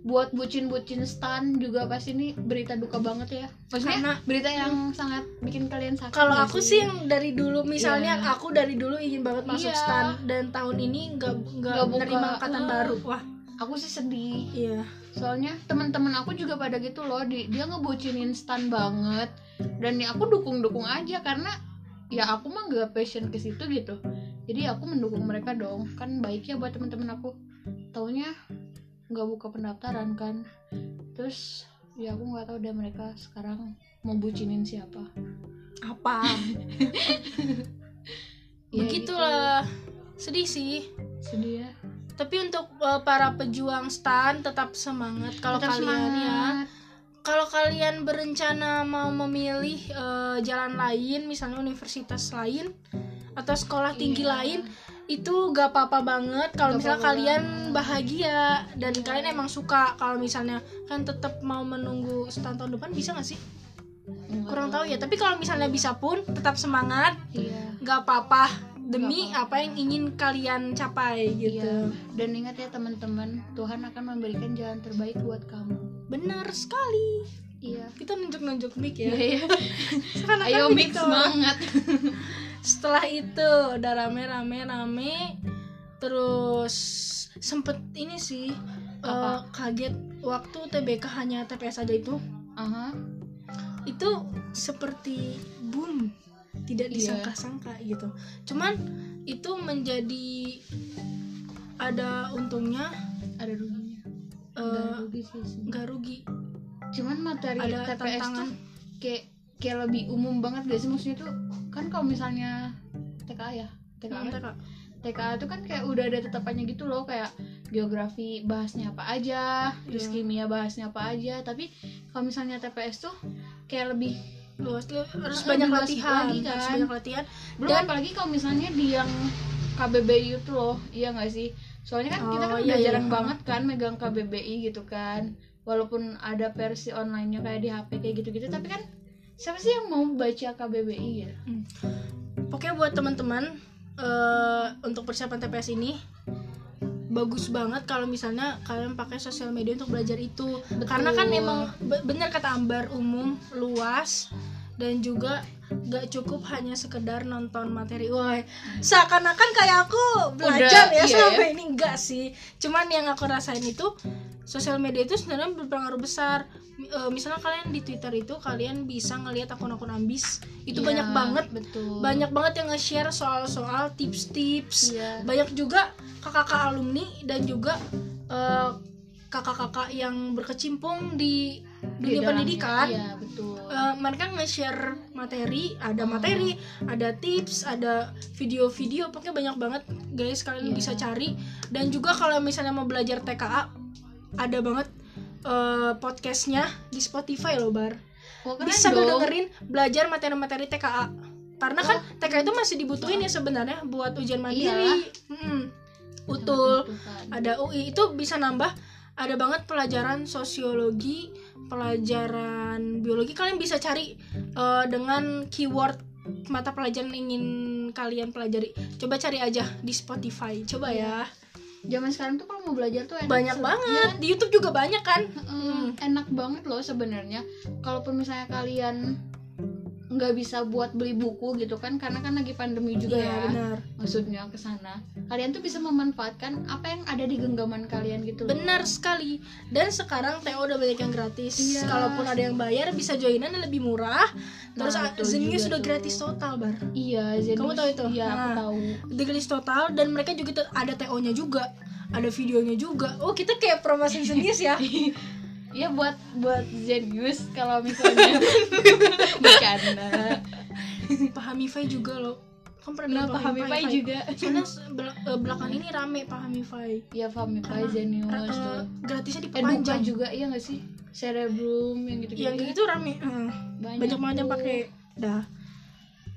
[SPEAKER 1] buat bucin-bucin stan juga pasti ini berita duka banget ya. Maksudnya
[SPEAKER 2] Karena-
[SPEAKER 1] berita yang sangat bikin kalian sakit.
[SPEAKER 2] kalau
[SPEAKER 1] nggak
[SPEAKER 2] aku sih yang dari dulu misalnya
[SPEAKER 1] Iya.
[SPEAKER 2] aku dari dulu ingin banget masuk
[SPEAKER 1] Iya.
[SPEAKER 2] stan dan tahun ini nggak nggak
[SPEAKER 1] Nggak buka.
[SPEAKER 2] menerima angkatan
[SPEAKER 1] Ah.
[SPEAKER 2] baru wah
[SPEAKER 1] aku sih sedih.
[SPEAKER 2] iya
[SPEAKER 1] soalnya teman-teman aku juga pada gitu loh di, dia ngebucinin stan banget dan ya aku dukung dukung aja karena ya aku mah nggak passion ke situ gitu jadi aku mendukung mereka dong kan baiknya buat teman-teman aku taunya nggak buka pendaftaran kan terus ya aku nggak tahu deh mereka sekarang mau bucinin siapa
[SPEAKER 2] apa
[SPEAKER 1] Ya,
[SPEAKER 2] gitu. begitulah sedih sih
[SPEAKER 1] gitu. sedih ya
[SPEAKER 2] Tapi untuk eh, para pejuang stan tetap semangat kalau
[SPEAKER 1] Tetap
[SPEAKER 2] kalian ya.
[SPEAKER 1] semangat.
[SPEAKER 2] Kalau kalian berencana mau memilih eh, jalan lain, misalnya universitas lain atau sekolah tinggi
[SPEAKER 1] Iya.
[SPEAKER 2] lain, itu gak apa-apa banget kalau
[SPEAKER 1] Gak
[SPEAKER 2] misalnya
[SPEAKER 1] apa-apa
[SPEAKER 2] kalian bahagia dan kalian emang suka. Kalau misalnya kan tetap mau menunggu stan tahun depan bisa gak sih?
[SPEAKER 1] Nggak
[SPEAKER 2] Kurang tahu ya. Tapi kalau misalnya bisa pun tetap semangat,
[SPEAKER 1] iya
[SPEAKER 2] gak apa-apa demi apa yang ingin kalian capai gitu.
[SPEAKER 1] iya dan ingat ya teman-teman Tuhan akan memberikan jalan terbaik buat kamu
[SPEAKER 2] Benar sekali.
[SPEAKER 1] iya
[SPEAKER 2] Kita nunjuk-nunjuk mic ya.
[SPEAKER 1] Iya,
[SPEAKER 2] Sekarang
[SPEAKER 1] Ayo
[SPEAKER 2] kan
[SPEAKER 1] mix
[SPEAKER 2] begitu.
[SPEAKER 1] banget.
[SPEAKER 2] Setelah itu udah rame-rame rame terus sempet ini sih eh,
[SPEAKER 1] Apa?
[SPEAKER 2] kaget waktu TBK hanya TPS aja itu
[SPEAKER 1] Aha.
[SPEAKER 2] itu seperti boom tidak
[SPEAKER 1] Iya.
[SPEAKER 2] disangka-sangka gitu cuman itu menjadi ada untungnya
[SPEAKER 1] Ada ruginya. Ada
[SPEAKER 2] eh,
[SPEAKER 1] rugi sih. sebenarnya.
[SPEAKER 2] nggak rugi
[SPEAKER 1] Cuman materi
[SPEAKER 2] ada
[SPEAKER 1] TPS
[SPEAKER 2] tantangan
[SPEAKER 1] tuh kayak kayak lebih umum banget gak sih maksudnya tuh kan kalau misalnya TKA ya TKA
[SPEAKER 2] Hmm, Kak.
[SPEAKER 1] TKA tuh kan kayak udah ada tetapannya gitu loh kayak geografi bahasnya apa aja terus
[SPEAKER 2] Iya.
[SPEAKER 1] kimia bahasnya apa aja tapi kalau misalnya TPS tuh kayak lebih
[SPEAKER 2] Luas, lu harus
[SPEAKER 1] Heeh,
[SPEAKER 2] banyak
[SPEAKER 1] luas
[SPEAKER 2] latihan
[SPEAKER 1] lagi
[SPEAKER 2] harus
[SPEAKER 1] kan.
[SPEAKER 2] banyak latihan
[SPEAKER 1] belum
[SPEAKER 2] Dan-
[SPEAKER 1] apalagi kalau misalnya di yang KBBI itu loh iya nggak sih soalnya kan kita
[SPEAKER 2] Oh,
[SPEAKER 1] kan
[SPEAKER 2] iya,
[SPEAKER 1] udah
[SPEAKER 2] iya.
[SPEAKER 1] jarang banget kan megang KBBI gitu kan walaupun ada versi onlinenya kayak di HP kayak gitu-gitu tapi kan siapa sih yang mau baca KBBI gitu
[SPEAKER 2] Hmm. Pokoknya buat teman-teman eh, untuk persiapan TPS ini bagus banget kalau misalnya kalian pakai sosial media untuk belajar itu karena kan emang be- bener kata Ambar umum luas dan juga gak cukup hanya sekedar nonton materi wah seakan-akan kayak aku belajar
[SPEAKER 1] Udah,
[SPEAKER 2] ya
[SPEAKER 1] iya
[SPEAKER 2] selama
[SPEAKER 1] ya.
[SPEAKER 2] ini enggak sih cuman yang aku rasain itu sosial media itu sebenarnya berpengaruh besar Mi- eh, misalnya kalian di Twitter itu kalian bisa ngelihat akun-akun ambis itu
[SPEAKER 1] Iya,
[SPEAKER 2] banyak banget
[SPEAKER 1] betul
[SPEAKER 2] banyak banget yang nge-share soal-soal tips-tips
[SPEAKER 1] Iya.
[SPEAKER 2] banyak juga kakak-kakak alumni dan juga eh, kakak-kakak yang berkecimpung di
[SPEAKER 1] Di
[SPEAKER 2] dunia
[SPEAKER 1] dalamnya.
[SPEAKER 2] pendidikan
[SPEAKER 1] iya betul
[SPEAKER 2] Eh, mereka nge-share materi ada materi ada tips ada video-video pokoknya banyak banget guys kalian
[SPEAKER 1] Iya.
[SPEAKER 2] bisa cari dan juga kalau misalnya mau belajar TKA ada banget eh, podcastnya di Spotify loh bar
[SPEAKER 1] oh, keren
[SPEAKER 2] bisa sambil
[SPEAKER 1] dong. Oh.
[SPEAKER 2] dengerin belajar materi-materi TKA karena kan TKA itu masih dibutuhin ya sebenarnya buat ujian
[SPEAKER 1] Iya.
[SPEAKER 2] mandiri Mm-mm. utul
[SPEAKER 1] Bukan.
[SPEAKER 2] ada UI itu bisa nambah ada banget pelajaran sosiologi pelajaran biologi kalian bisa cari eh, dengan keyword mata pelajaran yang ingin kalian pelajari coba cari aja di Spotify coba ya
[SPEAKER 1] zaman sekarang tuh kalau mau belajar tuh enak
[SPEAKER 2] banyak
[SPEAKER 1] se-
[SPEAKER 2] banget di YouTube juga banyak kan
[SPEAKER 1] Mm, enak banget loh sebenarnya kalaupun misalnya kalian nggak bisa buat beli buku gitu kan karena kan lagi pandemi juga
[SPEAKER 2] Iya,
[SPEAKER 1] ya
[SPEAKER 2] benar
[SPEAKER 1] maksudnya ke sana kalian tuh bisa memanfaatkan apa yang ada di genggaman kalian gitu loh.
[SPEAKER 2] Benar sekali. Dan sekarang TO udah banyak yang gratis.
[SPEAKER 1] Iya.
[SPEAKER 2] Kalaupun ada yang bayar bisa joinan lebih murah. Terus
[SPEAKER 1] Nah, betul
[SPEAKER 2] Zenius
[SPEAKER 1] juga
[SPEAKER 2] sudah
[SPEAKER 1] tuh.
[SPEAKER 2] gratis total, Bar.
[SPEAKER 1] iya jadi
[SPEAKER 2] Kamu tahu itu?
[SPEAKER 1] iya aku
[SPEAKER 2] Nah.
[SPEAKER 1] tahu
[SPEAKER 2] Udah gratis total dan mereka juga tuh ada TO-nya juga. Ada videonya juga. Oh, kita kayak promosi Zenius ya. Iya,
[SPEAKER 1] ya buat buat Zenius kalau misalnya bercanda
[SPEAKER 2] Pahami Fai juga loh. Kamu pernah
[SPEAKER 1] nah
[SPEAKER 2] dengar
[SPEAKER 1] pahami Pai juga
[SPEAKER 2] ya, Soalnya se- bel- eh, belakangan ini rame Pahami Fai.
[SPEAKER 1] ya pahami Pai
[SPEAKER 2] Karena,
[SPEAKER 1] Zenius
[SPEAKER 2] Eh,
[SPEAKER 1] tuh
[SPEAKER 2] gratisnya
[SPEAKER 1] Eduka
[SPEAKER 2] diperpanjang.
[SPEAKER 1] juga iya nggak sih cerebrum yang gitu
[SPEAKER 2] Yang kayak gitu rame. Eh, banyak banget yang
[SPEAKER 1] tuh.
[SPEAKER 2] pakai. Dah.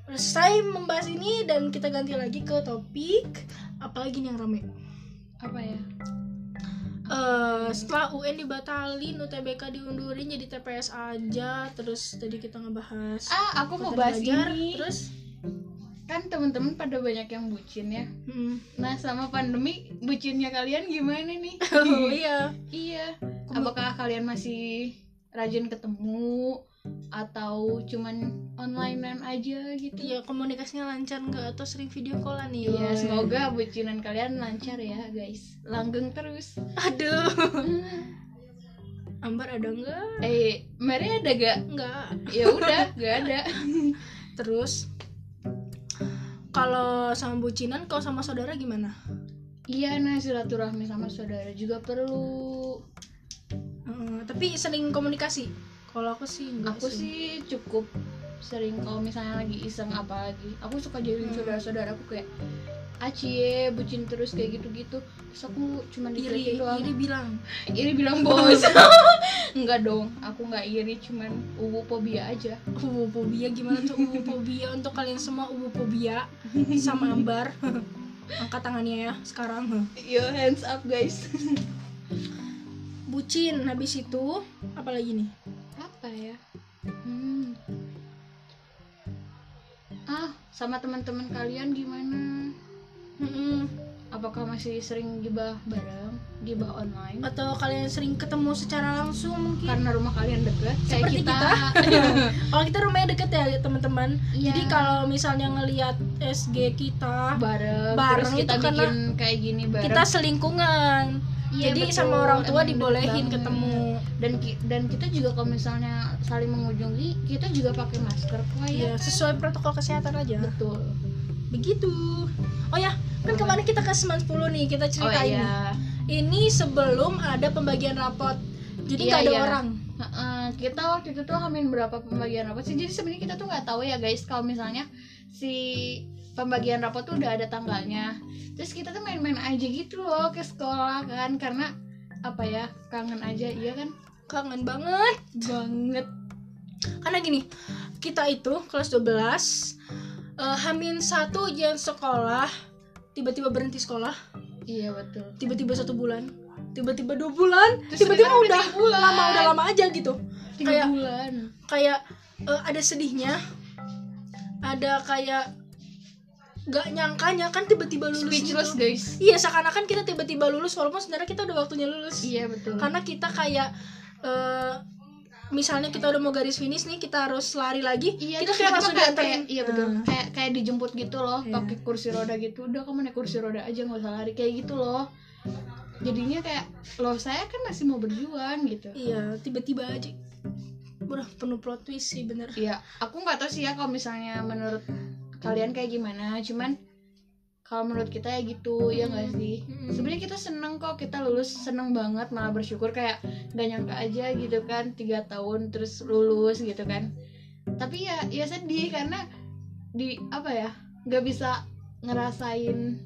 [SPEAKER 2] Selesai membahas ini dan kita ganti lagi ke topik apalagi nih yang rame.
[SPEAKER 1] apa ya
[SPEAKER 2] Eh, setelah UN dibatalin, UTBK diundurin jadi TPS aja. Terus tadi kita ngebahas
[SPEAKER 1] ah aku mau
[SPEAKER 2] materi
[SPEAKER 1] bahas
[SPEAKER 2] belajar,
[SPEAKER 1] ini
[SPEAKER 2] Terus
[SPEAKER 1] kan teman-teman pada banyak yang bucin ya
[SPEAKER 2] hmm.
[SPEAKER 1] nah sama pandemi bucinnya kalian gimana nih
[SPEAKER 2] Oh iya.
[SPEAKER 1] iya
[SPEAKER 2] Aku mau-
[SPEAKER 1] apakah kalian masih rajin ketemu atau cuman onlinean aja gitu
[SPEAKER 2] Iya, komunikasinya lancar nggak atau sering video callan nih?
[SPEAKER 1] Iya,
[SPEAKER 2] Woy.
[SPEAKER 1] semoga bucinan kalian lancar ya, guys. Langgeng terus.
[SPEAKER 2] Aduh.
[SPEAKER 1] Hmm.
[SPEAKER 2] Ambar ada nggak?
[SPEAKER 1] eh, Mary ada gak?
[SPEAKER 2] Nggak.
[SPEAKER 1] Ya udah, gak ada.
[SPEAKER 2] Terus kalau sama bucinan, kalau sama saudara gimana?
[SPEAKER 1] Iya, nah silaturahmi sama saudara juga perlu.
[SPEAKER 2] Heeh, Eh, tapi sering komunikasi. Kalau aku sih enggak
[SPEAKER 1] Aku sih cukup sering kalau misalnya lagi iseng apa lagi, aku suka jadiin
[SPEAKER 2] Hmm.
[SPEAKER 1] saudara-saudaraku kayak Acie, bucin terus kayak gitu-gitu Terus aku cuma
[SPEAKER 2] iri,
[SPEAKER 1] dicuekin doang
[SPEAKER 2] iri bilang.
[SPEAKER 1] Iri bilang bos Enggak dong, aku nggak iri cuman ubu fobia aja
[SPEAKER 2] Ubupobia gimana tuh ubupobia untuk kalian semua ubupobia sama Ambar. Angkat tangannya ya sekarang.
[SPEAKER 1] Yo hands up guys
[SPEAKER 2] Bucin habis itu apalagi nih?
[SPEAKER 1] Apa ya? Hmm. Ah, sama teman-teman kalian gimana?
[SPEAKER 2] Mm-mm.
[SPEAKER 1] Apakah masih sering gibah bareng? Gibah online?
[SPEAKER 2] Atau kalian sering ketemu secara langsung mungkin?
[SPEAKER 1] karena rumah kalian dekat kayak
[SPEAKER 2] Seperti
[SPEAKER 1] kita,
[SPEAKER 2] Kalau kita rumahnya deket ya teman-teman.
[SPEAKER 1] Iya.
[SPEAKER 2] Jadi kalau misalnya ngelihat SG kita,
[SPEAKER 1] bareng,
[SPEAKER 2] Bareng
[SPEAKER 1] terus kita
[SPEAKER 2] itu
[SPEAKER 1] bikin
[SPEAKER 2] karena
[SPEAKER 1] kayak gini bareng
[SPEAKER 2] kita selingkungan.
[SPEAKER 1] Iya,
[SPEAKER 2] Jadi
[SPEAKER 1] betul.
[SPEAKER 2] sama orang tua
[SPEAKER 1] Emang bener
[SPEAKER 2] dibolehin
[SPEAKER 1] banget.
[SPEAKER 2] ketemu.
[SPEAKER 1] dan ki- dan kita juga kalau misalnya saling mengunjungi kita juga pakai masker kok ya
[SPEAKER 2] Iya, sesuai protokol kesehatan aja.
[SPEAKER 1] betul
[SPEAKER 2] begitu oh ya kan kemarin kita ke 10 nih kita
[SPEAKER 1] oh
[SPEAKER 2] ceritain
[SPEAKER 1] iya
[SPEAKER 2] ini sebelum ada pembagian rapot jadi
[SPEAKER 1] Iya,
[SPEAKER 2] nggak ada
[SPEAKER 1] iya.
[SPEAKER 2] orang
[SPEAKER 1] Heeh, kita waktu itu tuh hamin berapa pembagian rapat sih jadi sebenarnya kita tuh nggak tahu ya guys kalau misalnya si pembagian rapat tuh udah ada tanggalnya terus kita tuh main-main aja gitu loh ke sekolah kan karena apa ya kangen aja iya kan
[SPEAKER 2] kangen banget
[SPEAKER 1] banget
[SPEAKER 2] karena gini kita itu kelas 12 eh, Hamin satu ujian sekolah tiba-tiba berhenti sekolah
[SPEAKER 1] iya betul
[SPEAKER 2] tiba-tiba satu bulan tiba-tiba dua bulan
[SPEAKER 1] Terus
[SPEAKER 2] tiba-tiba
[SPEAKER 1] sekarang
[SPEAKER 2] udah
[SPEAKER 1] tiga bulan.
[SPEAKER 2] lama udah lama aja gitu
[SPEAKER 1] tiga
[SPEAKER 2] Kayak-
[SPEAKER 1] bulan
[SPEAKER 2] kayak eh, ada sedihnya ada kayak nggak nyangkanya kan tiba-tiba lulus
[SPEAKER 1] speechless
[SPEAKER 2] gitu.
[SPEAKER 1] guys
[SPEAKER 2] Iya seakan-akan kita tiba-tiba lulus walaupun sebenarnya kita udah waktunya lulus.
[SPEAKER 1] iya betul
[SPEAKER 2] Karena kita kayak eh, misalnya kita udah mau garis finish nih kita harus lari lagi.
[SPEAKER 1] Iya,
[SPEAKER 2] kita
[SPEAKER 1] terus
[SPEAKER 2] kayak
[SPEAKER 1] tiba-tiba
[SPEAKER 2] langsung
[SPEAKER 1] kayak,
[SPEAKER 2] dianterin.
[SPEAKER 1] kayak- iya betul.
[SPEAKER 2] Nah.
[SPEAKER 1] Kayak kayak dijemput gitu loh,
[SPEAKER 2] Iya.
[SPEAKER 1] pakai kursi roda gitu. Udah kamu naik kursi roda aja nggak usah lari kayak gitu loh. Jadinya kayak loh saya kan masih mau berjuang gitu.
[SPEAKER 2] Iya tiba-tiba aja. Udah penuh plot twist sih bener.
[SPEAKER 1] Iya, aku nggak tahu sih ya kalau misalnya menurut kalian kayak gimana. Cuman kalau menurut kita ya gitu, ya nggak
[SPEAKER 2] Hmm.
[SPEAKER 1] sih.
[SPEAKER 2] Mm-mm.
[SPEAKER 1] Sebenarnya kita seneng kok kita lulus seneng banget malah bersyukur kayak nggak nyangka aja gitu kan tiga tahun terus lulus gitu kan. Tapi ya ya sedih karena di apa ya nggak bisa ngerasain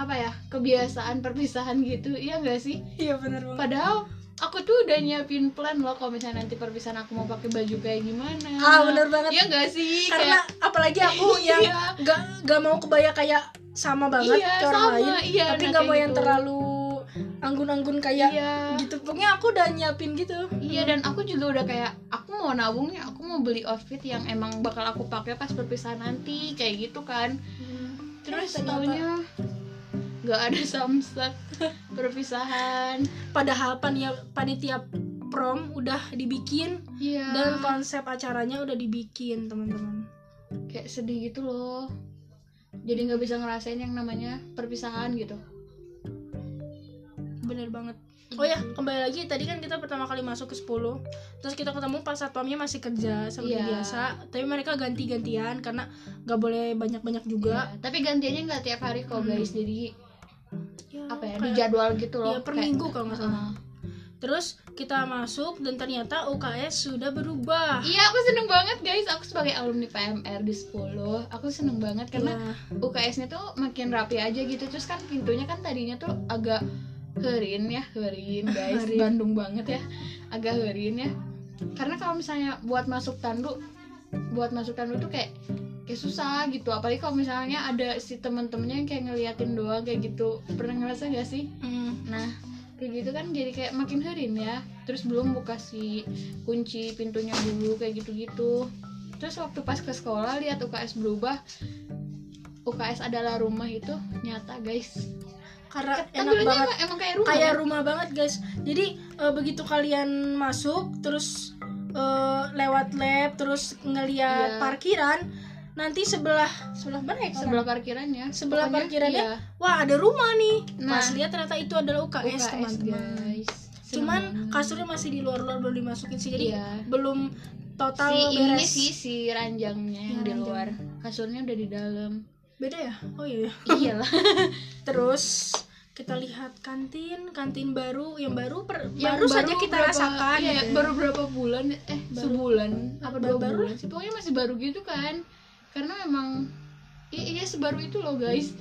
[SPEAKER 1] apa ya kebiasaan perpisahan gitu ya nggak sih
[SPEAKER 2] Iya bener banget.
[SPEAKER 1] padahal aku tuh udah nyiapin plan loh kalau misalnya nanti perpisahan aku mau pakai baju kayak gimana
[SPEAKER 2] Ah bener banget.
[SPEAKER 1] Iya gak sih?
[SPEAKER 2] Karena
[SPEAKER 1] kayak,
[SPEAKER 2] apalagi aku yang
[SPEAKER 1] Iya.
[SPEAKER 2] nggak nggak mau kebaya kayak sama banget
[SPEAKER 1] Iya,
[SPEAKER 2] ke orang
[SPEAKER 1] sama,
[SPEAKER 2] lain.
[SPEAKER 1] iya,
[SPEAKER 2] tapi
[SPEAKER 1] nah,
[SPEAKER 2] nggak
[SPEAKER 1] kayak
[SPEAKER 2] mau yang
[SPEAKER 1] gitu.
[SPEAKER 2] terlalu anggun-anggun kayak
[SPEAKER 1] iya.
[SPEAKER 2] gitu. Pokoknya aku udah nyiapin gitu.
[SPEAKER 1] Iya dan aku juga udah kayak aku mau nabungnya, aku mau beli outfit yang emang bakal aku pakai pas perpisahan nanti kayak gitu kan. Terus
[SPEAKER 2] Eh, ternyata-
[SPEAKER 1] taunya nggak ada samsak perpisahan.
[SPEAKER 2] Padahal panitia, panitia prom udah dibikin
[SPEAKER 1] Iya.
[SPEAKER 2] dan konsep acaranya udah dibikin teman-teman.
[SPEAKER 1] kayak sedih gitu loh. Jadi nggak bisa ngerasain yang namanya perpisahan gitu.
[SPEAKER 2] Bener banget. Oh ya, kembali lagi tadi kan kita pertama kali masuk ke 10 Terus kita ketemu pas satpamnya masih kerja seperti
[SPEAKER 1] Iya.
[SPEAKER 2] biasa Tapi mereka ganti-gantian karena nggak boleh banyak-banyak juga
[SPEAKER 1] Iya, Hmm. Tapi gantiannya nggak tiap hari kok guys. Jadi
[SPEAKER 2] Ya,
[SPEAKER 1] apa ya?
[SPEAKER 2] kayak-
[SPEAKER 1] Dijadwal gitu loh.
[SPEAKER 2] Iya, per
[SPEAKER 1] Kayak-
[SPEAKER 2] minggu kalau nggak salah.
[SPEAKER 1] Heeh.
[SPEAKER 2] Terus kita masuk dan ternyata UKS sudah berubah.
[SPEAKER 1] Iya, aku seneng banget guys. Aku sebagai alumni PMR di 10, aku seneng banget karena
[SPEAKER 2] Iya.
[SPEAKER 1] UKS-nya tuh makin rapi aja gitu. Terus kan pintunya kan tadinya tuh agak herin ya, herin guys.
[SPEAKER 2] Herin.
[SPEAKER 1] Bandung banget ya. Agak herin ya. Karena kalau misalnya buat masuk tandu, buat masuk tandu tuh kayak kayak susah gitu. Apalagi kalau misalnya ada si temen-temennya yang kayak ngeliatin doang kayak gitu. Pernah ngerasa gak sih?
[SPEAKER 2] Mm.
[SPEAKER 1] Nah, kayak gitu kan jadi kayak makin herin ya. Terus belum buka si kunci pintunya dulu kayak gitu-gitu. Terus waktu pas ke sekolah lihat UKS berubah. UKS adalah rumah itu nyata, guys.
[SPEAKER 2] karena enak
[SPEAKER 1] Tampilannya
[SPEAKER 2] banget.
[SPEAKER 1] emang, emang kayak rumah.
[SPEAKER 2] Kayak
[SPEAKER 1] kan?
[SPEAKER 2] rumah banget, guys. Jadi eh, begitu kalian masuk terus eh, lewat lab terus ngeliat
[SPEAKER 1] Iya.
[SPEAKER 2] parkiran, nanti sebelah sebelah mana ya?
[SPEAKER 1] sebelah parkirannya.
[SPEAKER 2] Sebelah
[SPEAKER 1] Pokoknya,
[SPEAKER 2] parkirannya
[SPEAKER 1] iya,
[SPEAKER 2] Wah, ada rumah nih.
[SPEAKER 1] Nah.
[SPEAKER 2] Mas lihat ternyata itu adalah UKS,
[SPEAKER 1] UKS,
[SPEAKER 2] Oh, teman-teman.
[SPEAKER 1] guys. Seneng
[SPEAKER 2] Cuman
[SPEAKER 1] banget.
[SPEAKER 2] kasurnya masih di luar-luar belum dimasukin sih. Jadi
[SPEAKER 1] Iya.
[SPEAKER 2] belum total
[SPEAKER 1] si ini
[SPEAKER 2] beres.
[SPEAKER 1] sih si ranjangnya yang
[SPEAKER 2] Iya,
[SPEAKER 1] di
[SPEAKER 2] ranjang.
[SPEAKER 1] luar. Kasurnya udah di dalam.
[SPEAKER 2] Beda ya? Oh iya. ya.
[SPEAKER 1] Iyalah.
[SPEAKER 2] Terus kita lihat kantin, kantin baru yang baru per-
[SPEAKER 1] Yang
[SPEAKER 2] baru, saja kita
[SPEAKER 1] berapa-
[SPEAKER 2] rasakan
[SPEAKER 1] iya,
[SPEAKER 2] gitu ya.
[SPEAKER 1] baru berapa bulan eh
[SPEAKER 2] Baru-
[SPEAKER 1] sebulan apa
[SPEAKER 2] baru-
[SPEAKER 1] dua
[SPEAKER 2] baru
[SPEAKER 1] bulan sih pokoknya masih baru gitu kan karena memang i- iya sebaru itu loh guys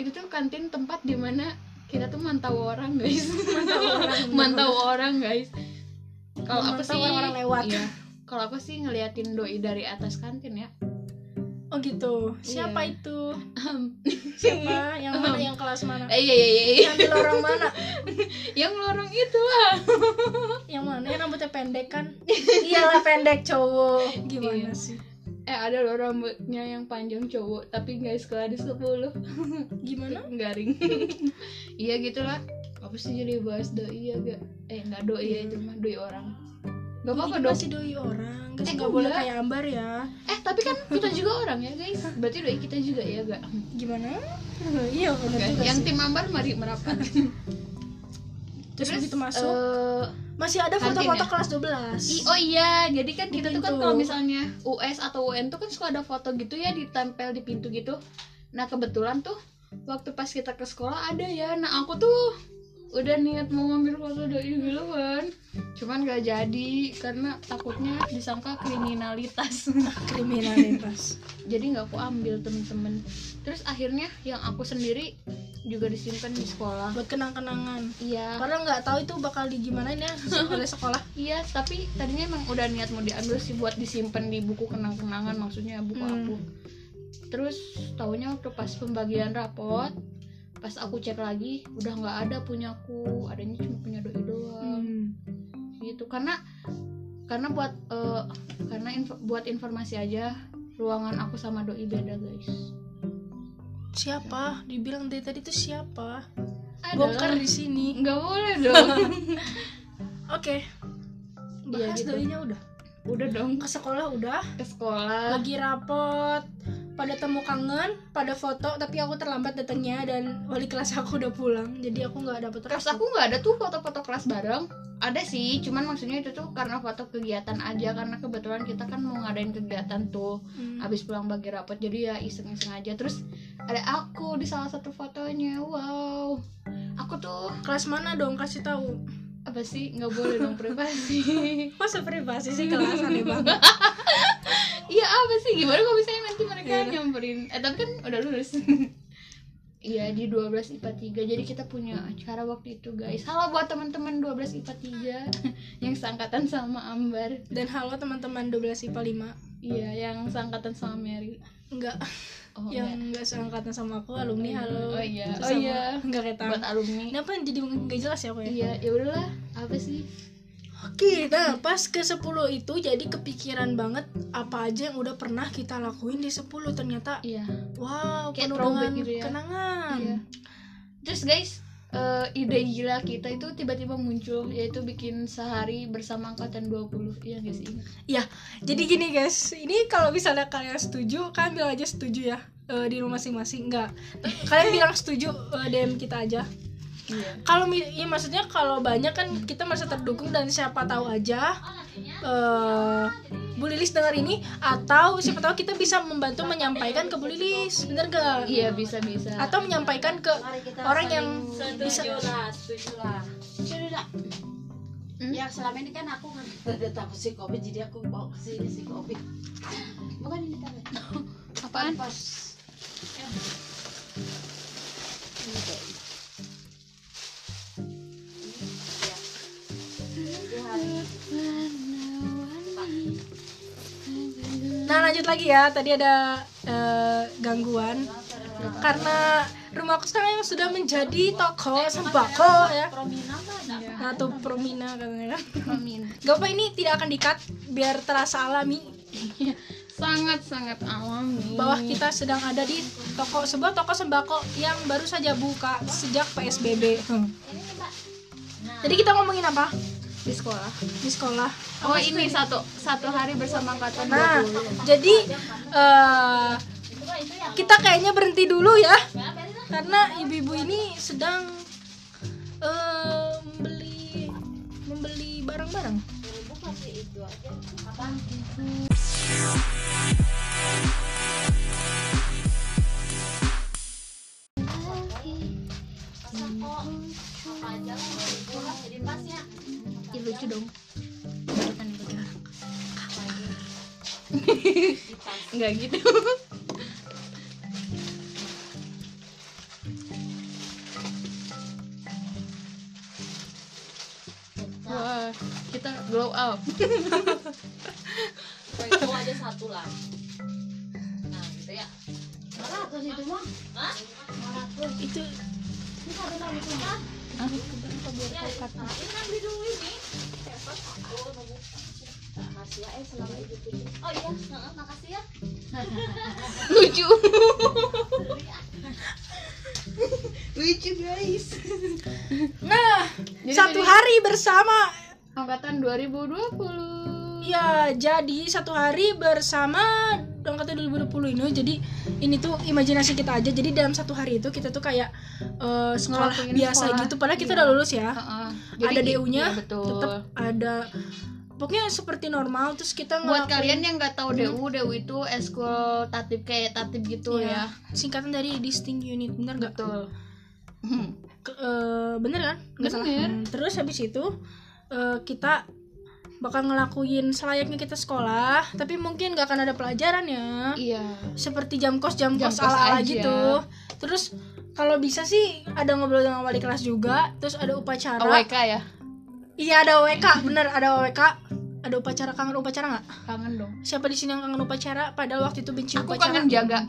[SPEAKER 1] itu tuh kantin tempat dimana kita tuh mantau orang guys mantau
[SPEAKER 2] orang, bener
[SPEAKER 1] mantau orang guys kalau aku
[SPEAKER 2] Memantau
[SPEAKER 1] sih
[SPEAKER 2] orang-orang lewat.
[SPEAKER 1] iya. kalau aku sih ngeliatin doi dari atas kantin ya
[SPEAKER 2] Oh gitu. Siapa
[SPEAKER 1] Iya.
[SPEAKER 2] itu? Siapa? Yang mana? Yang kelas mana?
[SPEAKER 1] Eh, iya iya iya, iya
[SPEAKER 2] Yang di lorong mana?
[SPEAKER 1] yang lorong itu lah
[SPEAKER 2] Yang mana? Yang rambutnya pendek kan? Iyalah pendek cowok. Gimana
[SPEAKER 1] Iya.
[SPEAKER 2] sih?
[SPEAKER 1] eh ada loh rambutnya yang panjang cowok tapi guys kelas 10
[SPEAKER 2] Gimana?
[SPEAKER 1] garing iya gitulah apa sih jadi bahas doi ya gak eh nggak doi ya itu mah doi orang gak apa
[SPEAKER 2] Iya.
[SPEAKER 1] apa
[SPEAKER 2] Jadi
[SPEAKER 1] dong
[SPEAKER 2] masih doi orang. Guys,
[SPEAKER 1] Eh,
[SPEAKER 2] nggak
[SPEAKER 1] enggak.
[SPEAKER 2] boleh kayak ambar ya.
[SPEAKER 1] eh tapi kan kita juga orang ya guys berarti doi kita juga ya gak
[SPEAKER 2] Gimana? iya, benar
[SPEAKER 1] Nggak.
[SPEAKER 2] juga
[SPEAKER 1] yang
[SPEAKER 2] sih.
[SPEAKER 1] tim ambar mari merapat
[SPEAKER 2] Terus begitu masuk,
[SPEAKER 1] eh,
[SPEAKER 2] masih ada
[SPEAKER 1] kantin
[SPEAKER 2] foto-foto
[SPEAKER 1] ya?
[SPEAKER 2] kelas
[SPEAKER 1] i-
[SPEAKER 2] 12.
[SPEAKER 1] oh iya jadi kan kita
[SPEAKER 2] Di
[SPEAKER 1] tuh kan
[SPEAKER 2] pintu.
[SPEAKER 1] kalau misalnya US atau UN tuh kan suka ada foto gitu ya ditempel di pintu gitu nah kebetulan tuh waktu pas kita ke sekolah ada ya nah aku tuh udah niat mau ngambil foto doi dulu kan cuman gak jadi karena takutnya disangka kriminalitas
[SPEAKER 2] Kriminalitas.
[SPEAKER 1] jadi nggak aku ambil temen-temen terus akhirnya yang aku sendiri juga disimpan di sekolah
[SPEAKER 2] Buat kenang-kenangan.
[SPEAKER 1] iya
[SPEAKER 2] Karena nggak tahu itu bakal digimanain ya oleh sekolah.
[SPEAKER 1] iya tapi tadinya emang udah niat mau diambil sih buat disimpan di buku kenang-kenangan maksudnya buku
[SPEAKER 2] Hmm.
[SPEAKER 1] aku terus tahunya waktu pas pembagian rapot pas aku cek lagi udah nggak ada punyaku adanya cuma punya doi doang gitu karena karena buat eh, karena info- buat informasi aja ruangan aku sama doi beda guys
[SPEAKER 2] siapa dibilang dari tadi tuh siapa
[SPEAKER 1] Kan Ada
[SPEAKER 2] bongkar
[SPEAKER 1] lah.
[SPEAKER 2] di sini
[SPEAKER 1] nggak boleh dong
[SPEAKER 2] oke bahas
[SPEAKER 1] gitu.
[SPEAKER 2] doinya udah
[SPEAKER 1] udah dong
[SPEAKER 2] ke sekolah udah
[SPEAKER 1] ke sekolah
[SPEAKER 2] lagi rapot pada temu kangen pada foto tapi aku terlambat datangnya dan wali kelas aku udah pulang jadi aku nggak dapet
[SPEAKER 1] Terus
[SPEAKER 2] rapot.
[SPEAKER 1] aku nggak ada tuh foto-foto kelas bareng. Ada sih, cuman maksudnya itu tuh karena foto kegiatan aja karena kebetulan kita kan mau ngadain kegiatan tuh
[SPEAKER 2] Hmm.
[SPEAKER 1] habis pulang bagi rapot jadi ya iseng-iseng aja. Terus ada aku di salah satu fotonya. Wow. Aku tuh
[SPEAKER 2] kelas mana dong kasih tahu
[SPEAKER 1] apa sih nggak boleh dong privasi.
[SPEAKER 2] masa privasi sih kelas aneh banget
[SPEAKER 1] Iya apa sih gimana kok misalnya nanti mereka
[SPEAKER 2] Iya.
[SPEAKER 1] nyamperin. Eh tapi kan udah lulus. Iya di 12 IPA 3 Jadi kita punya acara waktu itu guys Halo buat teman-teman 12 IPA 3 Yang seangkatan sama Ambar
[SPEAKER 2] dan halo teman-teman 12 IPA
[SPEAKER 1] Iya, yang seangkatan sama Mary.
[SPEAKER 2] 5 enggak
[SPEAKER 1] Oh,
[SPEAKER 2] yang
[SPEAKER 1] enggak.
[SPEAKER 2] nggak seangkatan sama aku alumni halo
[SPEAKER 1] Oh iya,
[SPEAKER 2] Terus
[SPEAKER 1] oh
[SPEAKER 2] sama-
[SPEAKER 1] iya.
[SPEAKER 2] nggak kayak tahu
[SPEAKER 1] buat alumni.
[SPEAKER 2] kenapa jadi nggak jelas ya aku ya
[SPEAKER 1] Iya, ya udahlah. Apa sih?
[SPEAKER 2] Oke, nah pas ke 10 itu jadi kepikiran banget apa aja yang udah pernah kita lakuin di 10 ternyata
[SPEAKER 1] Iya.
[SPEAKER 2] wow
[SPEAKER 1] Kayak
[SPEAKER 2] penuh
[SPEAKER 1] throwback
[SPEAKER 2] dengan
[SPEAKER 1] gitu ya.
[SPEAKER 2] kenangan.
[SPEAKER 1] Iya. Terus guys, eh, ide gila kita itu tiba-tiba muncul yaitu bikin sehari bersama angkatan 20. Iya guys, ingat.
[SPEAKER 2] Ya, jadi gini guys, ini kalau misalnya kalian setuju, kalian bilang aja setuju ya eh, di rumah masing-masing enggak. Kalian bilang setuju eh, DM kita aja.
[SPEAKER 1] Iya.
[SPEAKER 2] Kalau mi- iya, maksudnya kalau banyak kan kita merasa terdukung dan siapa tahu aja eh Bu Lilis dengar ini atau siapa tahu kita bisa membantu menyampaikan ke Bu Lilis, bener gak?
[SPEAKER 1] Iya, bisa-bisa.
[SPEAKER 2] Nah. atau menyampaikan ke orang yang bisa
[SPEAKER 3] setuju lah setuju lah setuju lah
[SPEAKER 1] Hmm?
[SPEAKER 3] ya selama ini kan aku kan ada takut si covid jadi aku bawa ke sini si covid bukan ini tarik
[SPEAKER 1] apaan?
[SPEAKER 3] pas ini kayak ini. Ini, ya. Itu hari
[SPEAKER 2] nah lanjut lagi ya tadi ada eh, gangguan karena rumah aku sekarang yang sudah menjadi toko sembako ya
[SPEAKER 3] Promina mah ada.
[SPEAKER 2] nah tuh permina katanya
[SPEAKER 1] Amin.
[SPEAKER 2] gak apa ini tidak akan dikat biar terasa alami
[SPEAKER 1] Sangat-sangat alami.
[SPEAKER 2] bahwa kita sedang ada di toko sebuah toko sembako yang baru saja buka sejak PSBB Hmm. jadi kita ngomongin apa
[SPEAKER 1] di sekolah.
[SPEAKER 2] di sekolah
[SPEAKER 1] Oh, ini satu satu hari bersama angkatan
[SPEAKER 2] Nah,
[SPEAKER 1] 20.
[SPEAKER 2] jadi eh, kita kayaknya berhenti dulu ya, karena ibu-ibu ini sedang eh, membeli membeli barang-barang.
[SPEAKER 1] Ih, Nah. lucu dong kan lucu nggak gitu wah kita glow up
[SPEAKER 3] Itu aja satu lah. Nah, gitu ya.
[SPEAKER 2] Itu
[SPEAKER 3] nah, kan Makasih ya, eh selama itu tujuh. Oh iya, heeh, makasih ya.
[SPEAKER 1] lucu lucu guys
[SPEAKER 2] nah
[SPEAKER 1] Jadi
[SPEAKER 2] satu
[SPEAKER 1] tadi-
[SPEAKER 2] hari bersama.
[SPEAKER 1] angkatan 2020
[SPEAKER 2] Ya, jadi satu hari bersama angkatan 2020 ini. Jadi ini tuh imajinasi kita aja. Jadi dalam satu hari itu kita tuh kayak eh, sekolah
[SPEAKER 1] Ngelakuin
[SPEAKER 2] biasa
[SPEAKER 1] sekolah.
[SPEAKER 2] gitu. Padahal kita
[SPEAKER 1] Iya.
[SPEAKER 2] udah lulus ya.
[SPEAKER 1] Heeh.
[SPEAKER 2] ada
[SPEAKER 1] Jadi-
[SPEAKER 2] DU-nya,
[SPEAKER 1] iya, betul
[SPEAKER 2] tetap ada pokoknya seperti normal terus kita
[SPEAKER 1] buat
[SPEAKER 2] ngelakuin-
[SPEAKER 1] kalian yang nggak tahu DU DU itu eskul tatib kayak tatib gitu
[SPEAKER 2] Iya,
[SPEAKER 1] ya
[SPEAKER 2] singkatan dari distinct unit bener nggak
[SPEAKER 1] betul Hmm.
[SPEAKER 2] Ke- eh, bener kan Nggak salah.
[SPEAKER 1] Bener.
[SPEAKER 2] Hmm, terus habis itu eh, kita bakal ngelakuin selayaknya kita sekolah tapi mungkin nggak akan ada pelajaran ya
[SPEAKER 1] iya
[SPEAKER 2] seperti jam kos jam,
[SPEAKER 1] Jam
[SPEAKER 2] kos
[SPEAKER 1] kos
[SPEAKER 2] ala ala
[SPEAKER 1] aja.
[SPEAKER 2] gitu terus kalau bisa sih ada ngobrol dengan wali kelas juga terus ada upacara
[SPEAKER 1] OWK ya
[SPEAKER 2] iya ada WK bener ada WK ada upacara kangen upacara nggak
[SPEAKER 1] kangen dong
[SPEAKER 2] siapa di sini yang kangen upacara padahal waktu itu benci
[SPEAKER 1] aku
[SPEAKER 2] upacara
[SPEAKER 1] kangen jaga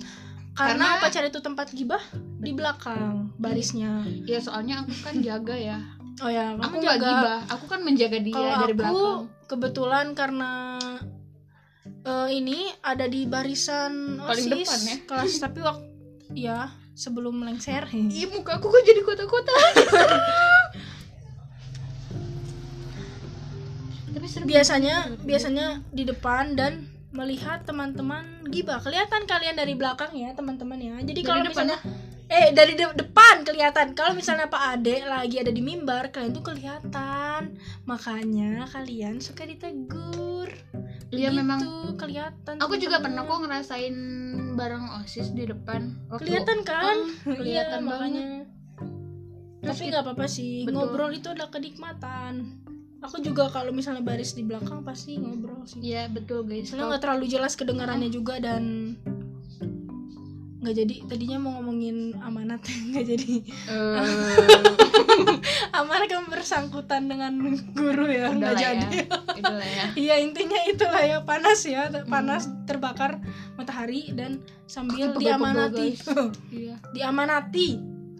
[SPEAKER 2] karena
[SPEAKER 1] karena-
[SPEAKER 2] upacara itu tempat gibah di belakang barisnya
[SPEAKER 1] ya soalnya aku kan jaga ya
[SPEAKER 2] oh ya kamu
[SPEAKER 1] aku nggak
[SPEAKER 2] jaga.
[SPEAKER 1] gibah aku kan menjaga dia
[SPEAKER 2] kalau
[SPEAKER 1] dari
[SPEAKER 2] aku
[SPEAKER 1] belakang
[SPEAKER 2] kebetulan karena eh, ini ada di barisan osis
[SPEAKER 1] Paling depan ya.
[SPEAKER 2] kelas tapi waktu ya sebelum lengser
[SPEAKER 1] Ih, iya, muka aku kok jadi kotak-kotak. Tapi seru. Hmm.
[SPEAKER 2] biasanya biasanya di depan dan melihat teman-teman gibah kelihatan kalian dari belakang ya teman-teman ya jadi
[SPEAKER 1] Dari
[SPEAKER 2] kalau
[SPEAKER 1] depan
[SPEAKER 2] misalnya eh dari de- depan kelihatan kalau misalnya Pak Ade lagi ada di mimbar kalian tuh kelihatan makanya kalian suka ditegur
[SPEAKER 1] Iya,
[SPEAKER 2] Begitu,
[SPEAKER 1] memang.
[SPEAKER 2] kelihatan
[SPEAKER 1] Aku juga pernah
[SPEAKER 2] teman-teman.
[SPEAKER 1] kok ngerasain bareng OSIS di depan. Waktu-
[SPEAKER 2] kelihatan kan
[SPEAKER 1] Oh, kelihatan
[SPEAKER 2] Iya, makanya. tapi
[SPEAKER 1] Terus kita-
[SPEAKER 2] nggak apa-apa sih
[SPEAKER 1] Betul.
[SPEAKER 2] ngobrol itu adalah kenikmatan aku juga kalau misalnya baris di belakang pasti ngobrol sih
[SPEAKER 1] Iya, betul guys.
[SPEAKER 2] Soalnya
[SPEAKER 1] Kalau-
[SPEAKER 2] nggak terlalu jelas kedengarannya juga dan nggak jadi tadinya mau ngomongin amanat nggak jadi
[SPEAKER 1] Eh,
[SPEAKER 2] amanat kan bersangkutan dengan guru ya
[SPEAKER 1] udah
[SPEAKER 2] nggak
[SPEAKER 1] lah ya.
[SPEAKER 2] jadi
[SPEAKER 1] Udah lah ya.
[SPEAKER 2] Iya intinya itulah ya panas ya te- panas
[SPEAKER 1] Hmm.
[SPEAKER 2] terbakar matahari dan sambil
[SPEAKER 1] Kaki pegel-pegel,
[SPEAKER 2] diamanati
[SPEAKER 1] Iya.
[SPEAKER 2] diamanati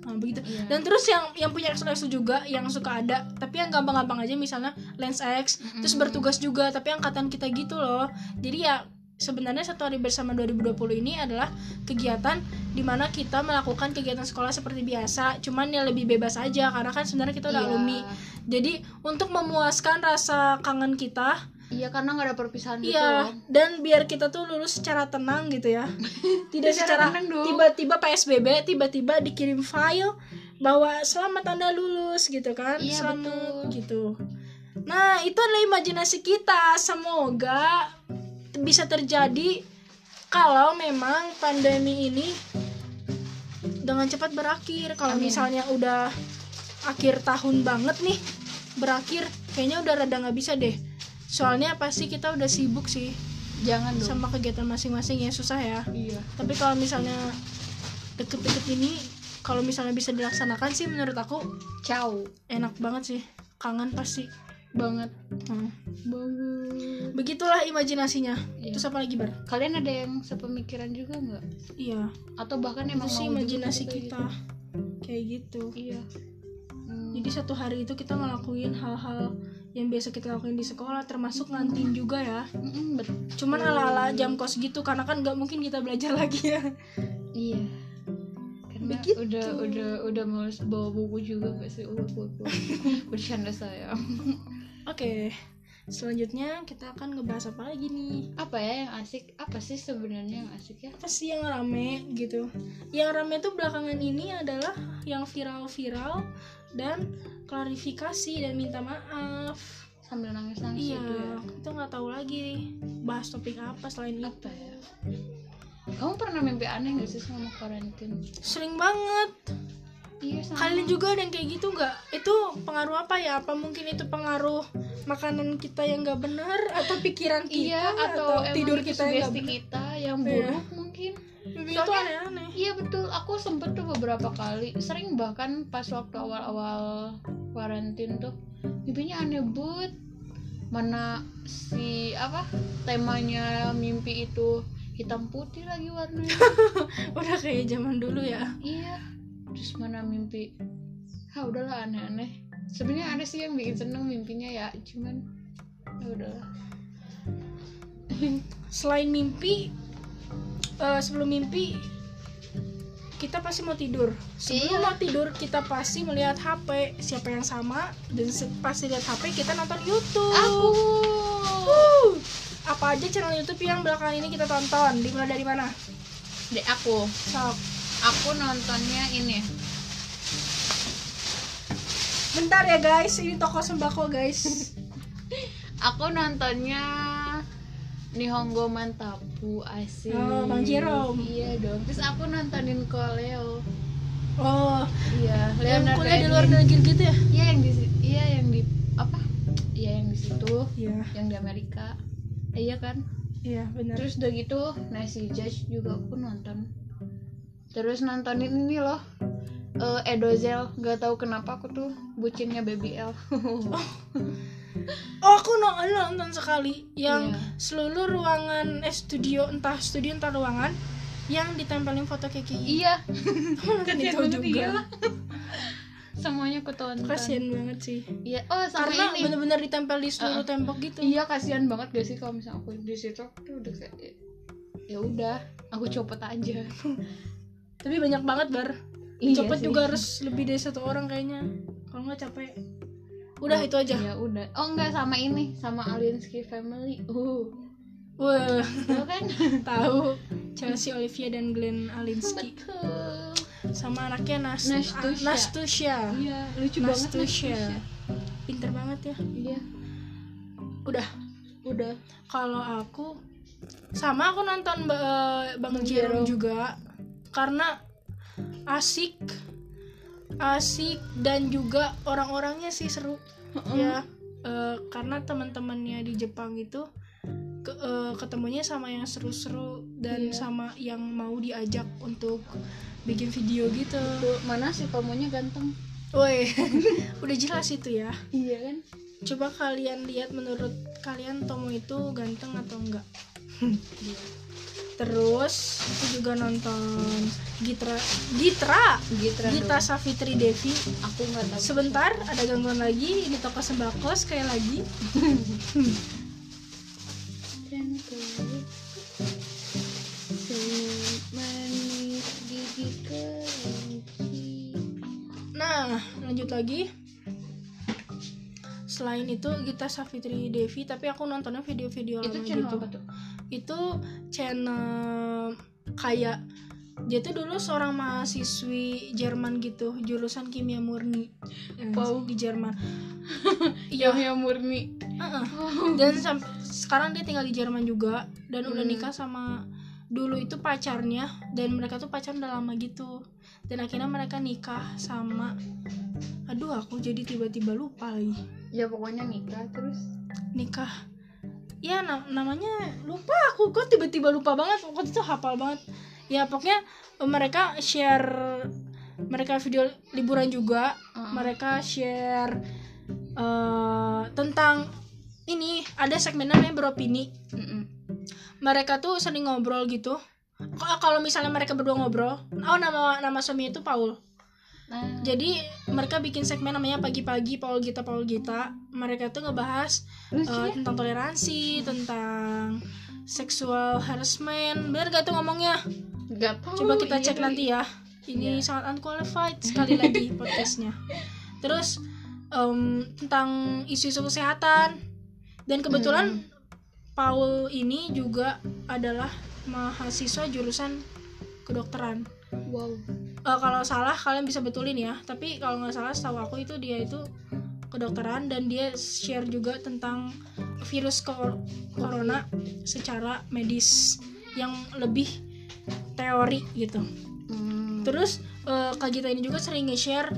[SPEAKER 2] nah, begitu
[SPEAKER 1] Iya.
[SPEAKER 2] dan terus yang yang punya X juga yang suka ada tapi yang gampang-gampang aja misalnya lens X terus bertugas juga tapi angkatan kita gitu loh jadi ya sebenarnya satu hari bersama 2020 ini adalah kegiatan dimana kita melakukan kegiatan sekolah seperti biasa cuman ya lebih bebas aja karena kan sebenarnya kita udah
[SPEAKER 1] Iya.
[SPEAKER 2] alumni jadi untuk memuaskan rasa kangen kita
[SPEAKER 1] Iya, karena nggak ada perpisahan gitu.
[SPEAKER 2] Iya,
[SPEAKER 1] loh.
[SPEAKER 2] dan biar kita tuh lulus secara tenang gitu ya. Tidak
[SPEAKER 1] Secara
[SPEAKER 2] secara
[SPEAKER 1] tenang dong.
[SPEAKER 2] tiba-tiba PSBB, tiba-tiba dikirim file bahwa selamat Anda lulus gitu kan.
[SPEAKER 1] Iya,
[SPEAKER 2] selamat
[SPEAKER 1] betul.
[SPEAKER 2] gitu. Nah, itu adalah imajinasi kita. Semoga bisa terjadi kalau memang pandemi ini dengan cepat berakhir. Kalau
[SPEAKER 1] Amin.
[SPEAKER 2] misalnya udah akhir tahun banget nih berakhir, kayaknya udah rada nggak bisa deh. Soalnya pasti kita udah sibuk sih
[SPEAKER 1] Jangan dong.
[SPEAKER 2] sama kegiatan masing-masing ya susah ya.
[SPEAKER 1] Iya.
[SPEAKER 2] Tapi kalau misalnya deket-deket ini, kalau misalnya bisa dilaksanakan sih menurut aku
[SPEAKER 1] Ciao
[SPEAKER 2] enak banget sih, kangen pasti.
[SPEAKER 1] banget
[SPEAKER 2] Hmm.
[SPEAKER 1] banget.
[SPEAKER 2] Begitulah imajinasinya.
[SPEAKER 1] Iya.
[SPEAKER 2] Terus apa lagi bar?
[SPEAKER 1] Kalian ada yang sepemikiran juga nggak?
[SPEAKER 2] Iya.
[SPEAKER 1] Atau bahkan
[SPEAKER 2] Itu
[SPEAKER 1] emang
[SPEAKER 2] sih
[SPEAKER 1] mau juga
[SPEAKER 2] imajinasi gitu.
[SPEAKER 1] kayak
[SPEAKER 2] kita kayak gitu.
[SPEAKER 1] gitu? Iya. Hmm.
[SPEAKER 2] Jadi satu hari itu kita ngelakuin hal-hal yang biasa kita lakuin di sekolah, termasuk ngantin juga ya.
[SPEAKER 1] Mm-mm, mm, bet-
[SPEAKER 2] Cuman ala-ala jam kos gitu, karena kan nggak mungkin kita belajar lagi ya.
[SPEAKER 1] Iya. Karena
[SPEAKER 2] Begitu.
[SPEAKER 1] udah udah udah males bawa buku juga gak sih? Udah buku. Bercanda saya.
[SPEAKER 2] Oke, selanjutnya kita akan ngebahas apa lagi nih?
[SPEAKER 1] Apa ya yang asik? Apa sih sebenarnya yang asik ya?
[SPEAKER 2] apa sih yang rame gitu yang rame tuh belakangan ini adalah yang viral-viral dan klarifikasi dan minta maaf
[SPEAKER 1] Sambil
[SPEAKER 2] iya
[SPEAKER 1] nangis-nangis itu ya.
[SPEAKER 2] kita nggak tahu lagi bahas topik apa selain itu
[SPEAKER 1] Apa ya? Kamu pernah mimpi aneh gak sih selama karantin?
[SPEAKER 2] sering banget
[SPEAKER 1] Iya sama.
[SPEAKER 2] kalian juga ada yang kayak gitu nggak itu pengaruh apa ya apa mungkin itu pengaruh makanan kita yang nggak benar atau pikiran kita
[SPEAKER 1] Iya atau, emang
[SPEAKER 2] tidur
[SPEAKER 1] itu
[SPEAKER 2] kita yang
[SPEAKER 1] sugesti
[SPEAKER 2] nggak
[SPEAKER 1] kita yang
[SPEAKER 2] Iya.
[SPEAKER 1] buruk mungkin.
[SPEAKER 2] benar itu
[SPEAKER 1] Soalnya-
[SPEAKER 2] aneh-aneh
[SPEAKER 1] Iya betul, aku sempet tuh beberapa kali, sering bahkan pas waktu awal-awal karantin tuh mimpinya aneh banget. Mana si apa temanya mimpi itu hitam putih lagi warnanya.
[SPEAKER 2] udah kayak zaman dulu ya
[SPEAKER 1] iya. Terus mana mimpi? Ha udahlah aneh-aneh. Sebenarnya ada sih yang bikin seneng mimpinya ya, cuman ya udahlah.
[SPEAKER 2] selain mimpi eh, sebelum mimpi kita pasti mau tidur sebelum
[SPEAKER 1] Iya.
[SPEAKER 2] mau tidur kita pasti melihat HP siapa yang sama dan se- pasti lihat HP kita nonton YouTube
[SPEAKER 1] Aku.
[SPEAKER 2] Wuh. apa aja channel YouTube yang belakangan ini kita tonton dimulai dari mana
[SPEAKER 1] Dek aku.
[SPEAKER 2] sok
[SPEAKER 1] Aku nontonnya ini.
[SPEAKER 2] bentar ya guys ini toko sembako guys
[SPEAKER 1] Aku nontonnya Nihongo Mantapu asik.
[SPEAKER 2] Oh, Bang Jerome.
[SPEAKER 1] Iya dong. Terus aku nontonin Koleo.
[SPEAKER 2] oh
[SPEAKER 1] Iya,
[SPEAKER 2] yang
[SPEAKER 1] Leonardo
[SPEAKER 2] kuliah di
[SPEAKER 1] Edwin.
[SPEAKER 2] luar negeri gitu ya
[SPEAKER 1] Iya yang di si- iya yang di apa? Iya yang di situ,
[SPEAKER 2] iya
[SPEAKER 1] yang di Amerika. Eh, iya kan?
[SPEAKER 2] iya benar
[SPEAKER 1] Terus udah gitu, Nancy Judge juga aku nonton. Terus nontonin ini loh. eh, Edozel, nggak tahu kenapa aku tuh bucinnya BBL.
[SPEAKER 2] Oh, aku no- nonton sekali yang
[SPEAKER 1] Iya.
[SPEAKER 2] seluruh ruangan eh studio entah studio entah ruangan yang ditempelin foto Kiki.
[SPEAKER 1] iya,
[SPEAKER 2] nonton Kan
[SPEAKER 1] kasihan
[SPEAKER 2] itu
[SPEAKER 1] banget iya.
[SPEAKER 2] juga. ya?
[SPEAKER 1] dia. semuanya aku tonton.
[SPEAKER 2] Kasian banget sih.
[SPEAKER 1] Iya, oh sama
[SPEAKER 2] Karena
[SPEAKER 1] ini.
[SPEAKER 2] bener-bener ditempel di seluruh tembok gitu.
[SPEAKER 1] Iya, kasihan banget gak sih kalau misalnya
[SPEAKER 2] Nah.
[SPEAKER 1] aku di situ aku tuh udah kayak ya udah, aku copot aja.
[SPEAKER 2] tapi banyak banget bar
[SPEAKER 1] Iya
[SPEAKER 2] copet
[SPEAKER 1] sih.
[SPEAKER 2] juga harus lebih dari satu orang kayaknya kalau nggak capek udah itu aja Hmm.
[SPEAKER 1] ya udah oh enggak sama ini sama Alinsky Family uh
[SPEAKER 2] wah
[SPEAKER 1] itu kan
[SPEAKER 2] tahu Chelsea Olivia dan Glenn Alinsky
[SPEAKER 1] betul
[SPEAKER 2] sama anaknya Nas
[SPEAKER 1] Nastusha.
[SPEAKER 2] Nastusha
[SPEAKER 1] iya lucu banget
[SPEAKER 2] Nastusha
[SPEAKER 1] Nastusha.
[SPEAKER 2] pinter banget ya
[SPEAKER 1] iya
[SPEAKER 2] udah
[SPEAKER 1] udah
[SPEAKER 2] kalau aku sama aku nonton Ba- eh, Bang
[SPEAKER 1] Bang
[SPEAKER 2] Jerome
[SPEAKER 1] Jerome.
[SPEAKER 2] juga karena asik asik dan juga orang-orangnya sih seru ya eh, karena teman-temannya di Jepang itu ke- eh, ketemunya sama yang seru-seru dan
[SPEAKER 1] Iya.
[SPEAKER 2] sama yang mau diajak untuk bikin video gitu.
[SPEAKER 1] Tuh, mana sih tamunya ganteng
[SPEAKER 2] Woi, udah jelas itu ya.
[SPEAKER 1] iya kan
[SPEAKER 2] Coba kalian lihat menurut kalian Tomo itu ganteng atau enggak? Terus aku juga nonton Gitra Gitra
[SPEAKER 1] Gitra
[SPEAKER 2] Gita Savitri Devi.
[SPEAKER 1] dong. aku nggak tahu
[SPEAKER 2] Sebentar, ada gangguan lagi. Ini toko sembako sekali lagi.
[SPEAKER 1] Senyum manis gigi kelinci
[SPEAKER 2] Nah, lanjut lagi. Selain itu Gita Savitri Devi, tapi aku nontonnya video-video
[SPEAKER 1] itu
[SPEAKER 2] lama
[SPEAKER 1] channel
[SPEAKER 2] gitu.
[SPEAKER 1] apa tuh
[SPEAKER 2] Itu channel kayak dia tuh dulu seorang mahasiswi Jerman gitu, jurusan kimia murni.
[SPEAKER 1] Wow.
[SPEAKER 2] di Jerman.
[SPEAKER 1] yang
[SPEAKER 2] Iya.
[SPEAKER 1] murni
[SPEAKER 2] heeh. Dan sam- sekarang dia tinggal di Jerman juga dan udah
[SPEAKER 1] Hmm.
[SPEAKER 2] nikah sama dulu itu pacarnya dan mereka tuh pacaran udah lama gitu. Dan akhirnya mereka nikah sama aduh aku jadi tiba-tiba lupa lagi.
[SPEAKER 1] ya pokoknya nikah terus
[SPEAKER 2] nikah ya na- namanya lupa aku kok tiba-tiba lupa banget waktu itu hafal banget ya pokoknya eh, mereka share mereka video liburan juga
[SPEAKER 1] Mm.
[SPEAKER 2] mereka share eh, tentang ini ada segmen namanya beropini
[SPEAKER 1] Mm-mm.
[SPEAKER 2] mereka tuh sering ngobrol gitu Kok- kalau misalnya mereka berdua ngobrol oh nama nama suaminya itu Paul
[SPEAKER 1] nah
[SPEAKER 2] jadi mereka bikin segmen namanya pagi-pagi Paul Gita Paul Gita mereka tuh ngebahas
[SPEAKER 1] lucu
[SPEAKER 2] Eh,
[SPEAKER 1] ya
[SPEAKER 2] tentang toleransi, tentang seksual harassment. Bener gak tuh ngomongnya?
[SPEAKER 1] nggak tahu
[SPEAKER 2] Coba kita
[SPEAKER 1] iya
[SPEAKER 2] cek
[SPEAKER 1] kali.
[SPEAKER 2] nanti ya. Ini
[SPEAKER 1] Iya.
[SPEAKER 2] sangat unqualified sekali lagi podcastnya. Terus em, tentang isu-isu kesehatan dan kebetulan
[SPEAKER 1] Hmm.
[SPEAKER 2] Paul ini juga adalah mahasiswa jurusan kedokteran.
[SPEAKER 1] wow
[SPEAKER 2] Eh, kalau salah kalian bisa betulin ya. Tapi kalau nggak salah, setahu aku itu dia itu kedokteran dan dia share juga tentang virus kor- corona secara medis yang lebih teori gitu.
[SPEAKER 1] Hmm.
[SPEAKER 2] Terus eh, Kak Gita ini juga sering nge-share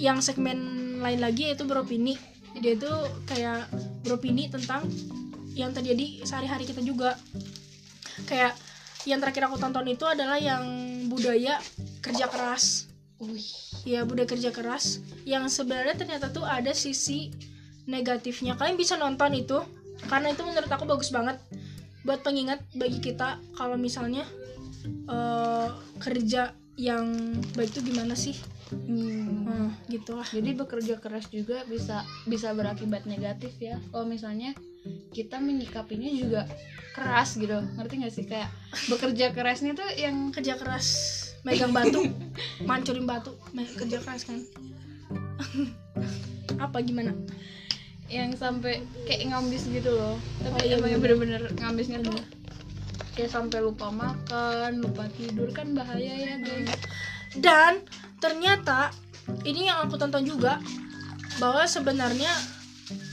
[SPEAKER 2] yang segmen lain lagi yaitu beropini. Dia itu kayak beropini tentang yang terjadi sehari-hari kita juga. Kayak yang terakhir aku tonton itu adalah yang budaya kerja keras.
[SPEAKER 1] Wih.
[SPEAKER 2] Ya, budaya kerja keras yang sebenarnya ternyata tuh ada sisi negatifnya. Kalian bisa nonton itu karena itu menurut aku bagus banget buat pengingat bagi kita kalau misalnya eh, kerja yang baik itu gimana sih?
[SPEAKER 1] Hmm.
[SPEAKER 2] Nah, gitu lah.
[SPEAKER 1] Jadi bekerja keras juga bisa bisa berakibat negatif ya. Kalau misalnya kita menyikapinya juga keras gitu. Ngerti gak sih kayak bekerja kerasnya tuh yang
[SPEAKER 2] Kerja keras, megang batu, mancurin batu, me- kerja keras kan. Apa gimana?
[SPEAKER 1] yang sampai kayak ngambis gitu
[SPEAKER 2] Oh,
[SPEAKER 1] loh. Tapi
[SPEAKER 2] iya,
[SPEAKER 1] emang
[SPEAKER 2] bener. Iya.
[SPEAKER 1] yang bener-bener ngambisnya tuh
[SPEAKER 2] Bener.
[SPEAKER 1] kayak sampai lupa makan, lupa tidur kan bahaya ya guys.
[SPEAKER 2] Hmm. Dan ternyata ini yang aku tonton juga bahwa sebenarnya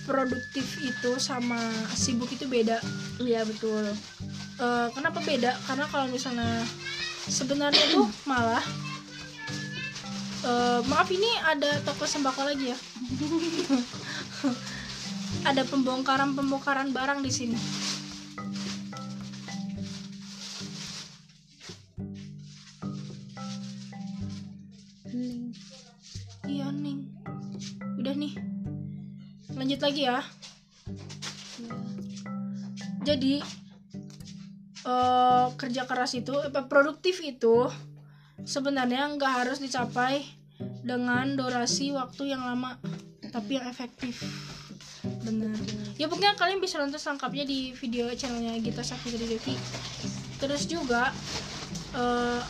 [SPEAKER 2] produktif itu sama sibuk itu beda.
[SPEAKER 1] Iya betul.
[SPEAKER 2] Eh, kenapa beda? Karena kalau misalnya sebenarnya tuh malah eh, maaf ini ada toko sembako lagi ya. ada pembongkaran pembongkaran barang di sini. Iya ning. Udah nih. Lanjut lagi ya. Jadi eh, kerja keras itu apa produktif itu sebenarnya nggak harus dicapai dengan durasi waktu yang lama tapi yang efektif benar ya pokoknya kalian bisa nonton selengkapnya di video channelnya Gita Savitri Devi terus juga eh,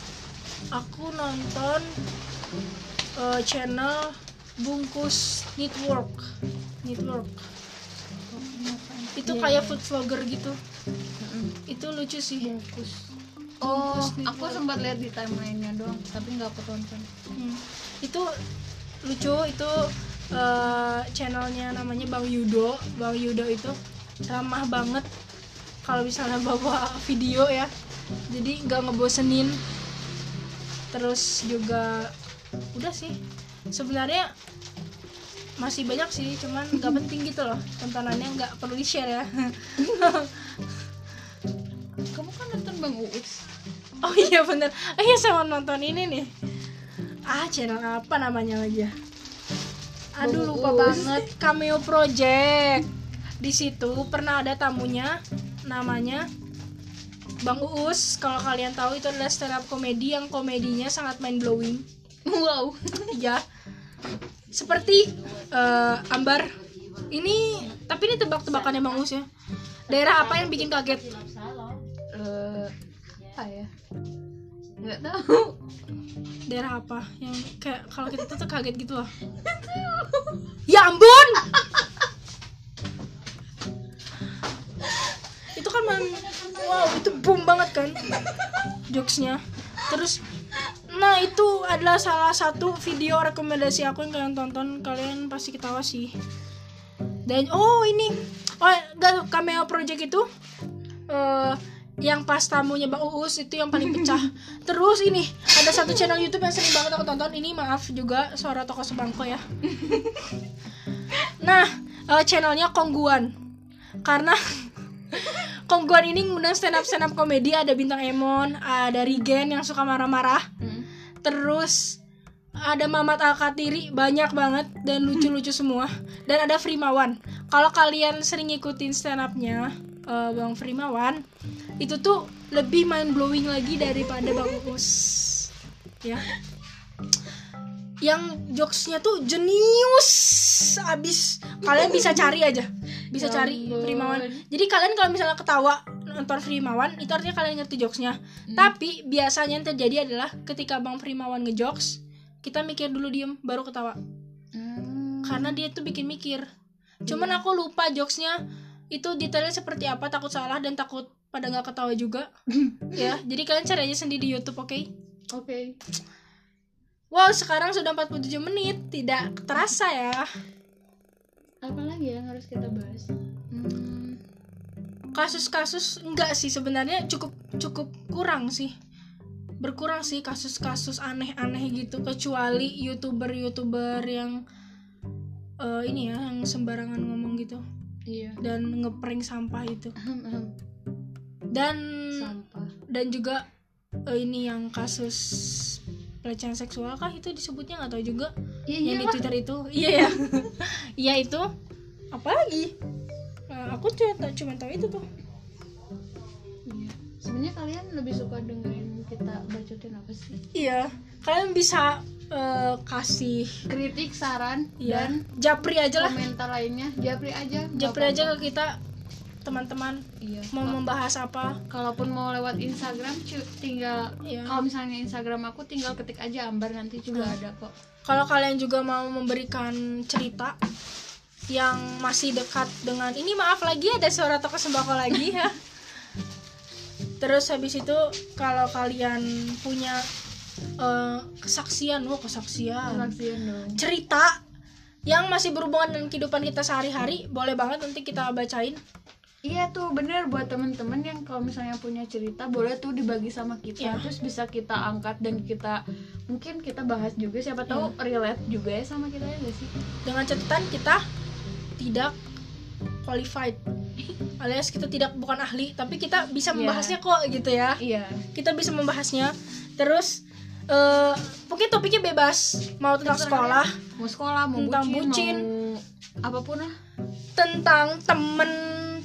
[SPEAKER 2] aku nonton eh, channel bungkus network network itu kayak food vlogger gitu itu lucu sih bungkus
[SPEAKER 1] Oh, aku sempat lihat di timelinenya doang, tapi nggak aku tonton.
[SPEAKER 2] Hmm. itu lucu itu eh, channelnya namanya bang Yudo bang Yudo itu ramah banget kalau misalnya bawa video ya jadi nggak ngebosenin terus juga udah sih sebenarnya masih banyak sih cuman nggak penting gitu loh tontonannya nggak perlu di share ya
[SPEAKER 1] Kamu kan nonton Bang Uus.
[SPEAKER 2] oh iya bener oh iya sama nonton ini nih ah channel apa namanya lagi ya aduh lupa
[SPEAKER 1] Bagus.
[SPEAKER 2] banget cameo project di situ pernah ada tamunya namanya Bang Uus, kalau kalian tahu itu adalah stand up komedi yang komedinya sangat mind blowing.
[SPEAKER 1] Wow.
[SPEAKER 2] Iya. Seperti eh, Ambar. Ini tapi ini tebak-tebakannya Bang Uus ya. Daerah apa yang bikin kaget?
[SPEAKER 1] Eh, apa ya? Nggak tahu.
[SPEAKER 2] daerah apa yang kayak kalau kita tuh kaget gitu loh ya ampun itu kan man wow itu boom banget kan jokesnya terus nah itu adalah salah satu video rekomendasi aku yang kalian tonton kalian pasti ketawa sih dan oh ini oh enggak cameo project itu eh yang pas tamunya Bang Uus itu yang paling pecah. Terus ini ada satu channel YouTube yang sering banget aku tonton. Ini maaf juga suara toko sebangko ya. Nah, eh, channelnya Kongguan. Karena Kongguan ini ngundang stand up stand up komedi ada Bintang Emon, ada Rigen yang suka marah-marah.
[SPEAKER 1] Hmm.
[SPEAKER 2] Terus ada Mamat Alkatiri banyak banget dan lucu-lucu semua dan ada Frimawan. Kalau kalian sering ngikutin stand up-nya eh, Bang Frimawan, itu tuh lebih mind blowing lagi daripada Bang Uus. Ya. Yang jokesnya tuh jenius abis. Kalian bisa cari aja. Bisa
[SPEAKER 1] Ya
[SPEAKER 2] cari
[SPEAKER 1] ampun.
[SPEAKER 2] Frimawan. Jadi kalian kalau misalnya ketawa nonton Frimawan itu artinya kalian ngerti jokesnya. Tapi biasanya yang terjadi adalah ketika Bang Primawan ngejokes, kita mikir dulu diem baru ketawa.
[SPEAKER 1] Hmm.
[SPEAKER 2] Karena dia tuh bikin mikir. Cuman aku lupa jokesnya itu detailnya seperti apa takut salah dan takut pada nggak ketawa juga. ya, jadi kalian cari aja sendiri di YouTube, oke?
[SPEAKER 1] Oke.
[SPEAKER 2] Wow, sekarang sudah 47 menit. Tidak terasa ya.
[SPEAKER 1] Apa lagi yang harus kita bahas? Hmm.
[SPEAKER 2] Kasus-kasus enggak sih sebenarnya cukup cukup kurang sih. Berkurang sih kasus-kasus aneh-aneh gitu kecuali YouTuber-YouTuber yang eh, ini ya yang sembarangan ngomong gitu
[SPEAKER 1] Iya.
[SPEAKER 2] dan ngeprank sampah itu.
[SPEAKER 1] Ahem, ahem.
[SPEAKER 2] Dan
[SPEAKER 1] Sampah.
[SPEAKER 2] dan juga eh, ini yang kasus pelecehan seksual kah itu disebutnya nggak tahu juga
[SPEAKER 1] Iya,
[SPEAKER 2] yang
[SPEAKER 1] iya.
[SPEAKER 2] di
[SPEAKER 1] lah.
[SPEAKER 2] Twitter itu iya ya iya itu apalagi Nah, aku cuma tahu, cuma tahu itu tuh
[SPEAKER 1] Iya. Sebenarnya kalian lebih suka dengerin kita bacotin apa sih?
[SPEAKER 2] iya kalian bisa eh, kasih
[SPEAKER 1] Kritik, saran,
[SPEAKER 2] ya
[SPEAKER 1] dan
[SPEAKER 2] japri aja lah
[SPEAKER 1] komentar lainnya. Japri aja. nggak
[SPEAKER 2] japri
[SPEAKER 1] apa-apa.
[SPEAKER 2] aja ke kita teman-teman
[SPEAKER 1] Iya.
[SPEAKER 2] mau membahas apa
[SPEAKER 1] Kalaupun mau lewat Instagram, cu, tinggal
[SPEAKER 2] Iya.
[SPEAKER 1] kalau misalnya Instagram aku tinggal ketik aja Ambar nanti juga ada kok.
[SPEAKER 2] kalau kalian juga mau memberikan cerita yang masih dekat dengan ini maaf lagi ada suara toko sembako lagi ya terus habis itu kalau kalian punya eh, kesaksian wah kesaksian
[SPEAKER 1] Saksian dong.
[SPEAKER 2] cerita yang masih berhubungan dengan kehidupan kita sehari-hari boleh banget nanti kita bacain
[SPEAKER 1] Iya tuh bener buat temen-temen yang kalau misalnya punya cerita boleh tuh dibagi sama kita
[SPEAKER 2] Iya.
[SPEAKER 1] terus bisa kita angkat dan kita mungkin kita bahas juga siapa tahu relate juga ya sama kita ya gak sih?
[SPEAKER 2] dengan catatan kita tidak qualified alias kita tidak bukan ahli tapi kita bisa
[SPEAKER 1] Iya.
[SPEAKER 2] membahasnya kok gitu ya
[SPEAKER 1] Iya.
[SPEAKER 2] kita bisa membahasnya terus eh mungkin topiknya bebas mau tentang sekolah
[SPEAKER 1] Mau sekolah, mau
[SPEAKER 2] Tentang
[SPEAKER 1] bucin,
[SPEAKER 2] bucin.
[SPEAKER 1] mau apapun lah.
[SPEAKER 2] tentang temen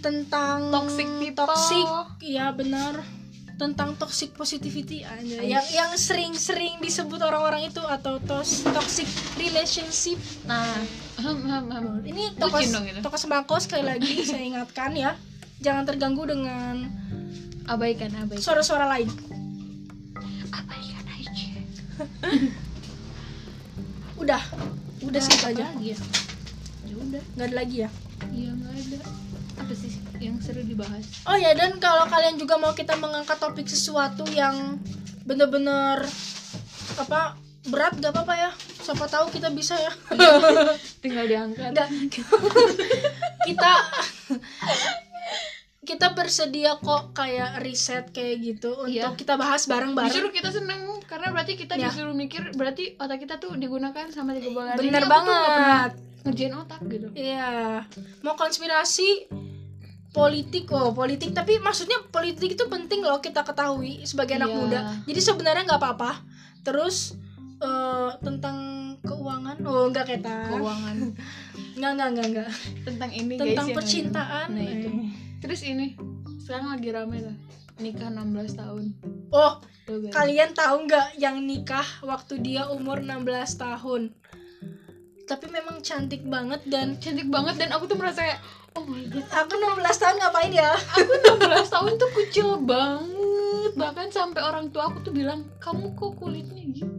[SPEAKER 2] tentang
[SPEAKER 1] Toxic people.
[SPEAKER 2] toxic iya benar tentang toxic positivity aja yang yang sering-sering disebut orang-orang itu atau tos, toxic relationship
[SPEAKER 1] Nah, ahem, ahem, ahem.
[SPEAKER 2] ini toko
[SPEAKER 1] Bucin dong gitu. itu.
[SPEAKER 2] toko sembako sekali lagi saya ingatkan ya jangan terganggu dengan
[SPEAKER 1] abaikan abaikan.
[SPEAKER 2] suara-suara lain
[SPEAKER 1] abaikan aja
[SPEAKER 2] udah udah segitu
[SPEAKER 1] apa
[SPEAKER 2] aja
[SPEAKER 1] lagi ya ya udah
[SPEAKER 2] nggak ada lagi ya
[SPEAKER 1] ya nggak ada apa sih yang seru dibahas
[SPEAKER 2] oh ya dan kalau kalian juga mau kita mengangkat topik sesuatu yang bener-bener apa berat gak apa-apa ya siapa tahu kita bisa ya
[SPEAKER 1] tinggal diangkat
[SPEAKER 2] Nggak. kita kita bersedia kok kayak riset kayak gitu untuk
[SPEAKER 1] Iya.
[SPEAKER 2] kita bahas bareng-bareng
[SPEAKER 1] justru kita seneng karena berarti kita
[SPEAKER 2] Ya.
[SPEAKER 1] disuruh mikir berarti otak kita tuh digunakan sama tiga bulan ini
[SPEAKER 2] bener
[SPEAKER 1] aku tuh nggak pernah
[SPEAKER 2] banget
[SPEAKER 1] ngerjain otak gitu
[SPEAKER 2] Iya, mau konspirasi politik oh politik tapi maksudnya politik itu penting loh kita ketahui sebagai anak
[SPEAKER 1] Iya.
[SPEAKER 2] muda jadi sebenarnya nggak apa-apa terus eh, tentang keuangan oh nggak kita
[SPEAKER 1] keuangan
[SPEAKER 2] nggak nggak nggak nggak
[SPEAKER 1] tentang ini guys
[SPEAKER 2] tentang
[SPEAKER 1] yang lagi-
[SPEAKER 2] percintaan
[SPEAKER 1] Nah, itu.
[SPEAKER 2] Eh.
[SPEAKER 1] terus ini sekarang lagi rame lah nikah 16 tahun
[SPEAKER 2] oh
[SPEAKER 1] Tuh, guys.
[SPEAKER 2] kalian tahu nggak yang nikah waktu dia umur 16 tahun tapi memang cantik banget dan
[SPEAKER 1] cantik banget dan aku tuh merasa kayak oh my god
[SPEAKER 2] aku 16 tahun ngapain ya
[SPEAKER 1] 16 tahun tuh kecil banget bahkan sampai orang tua aku tuh bilang kamu kok kulitnya gitu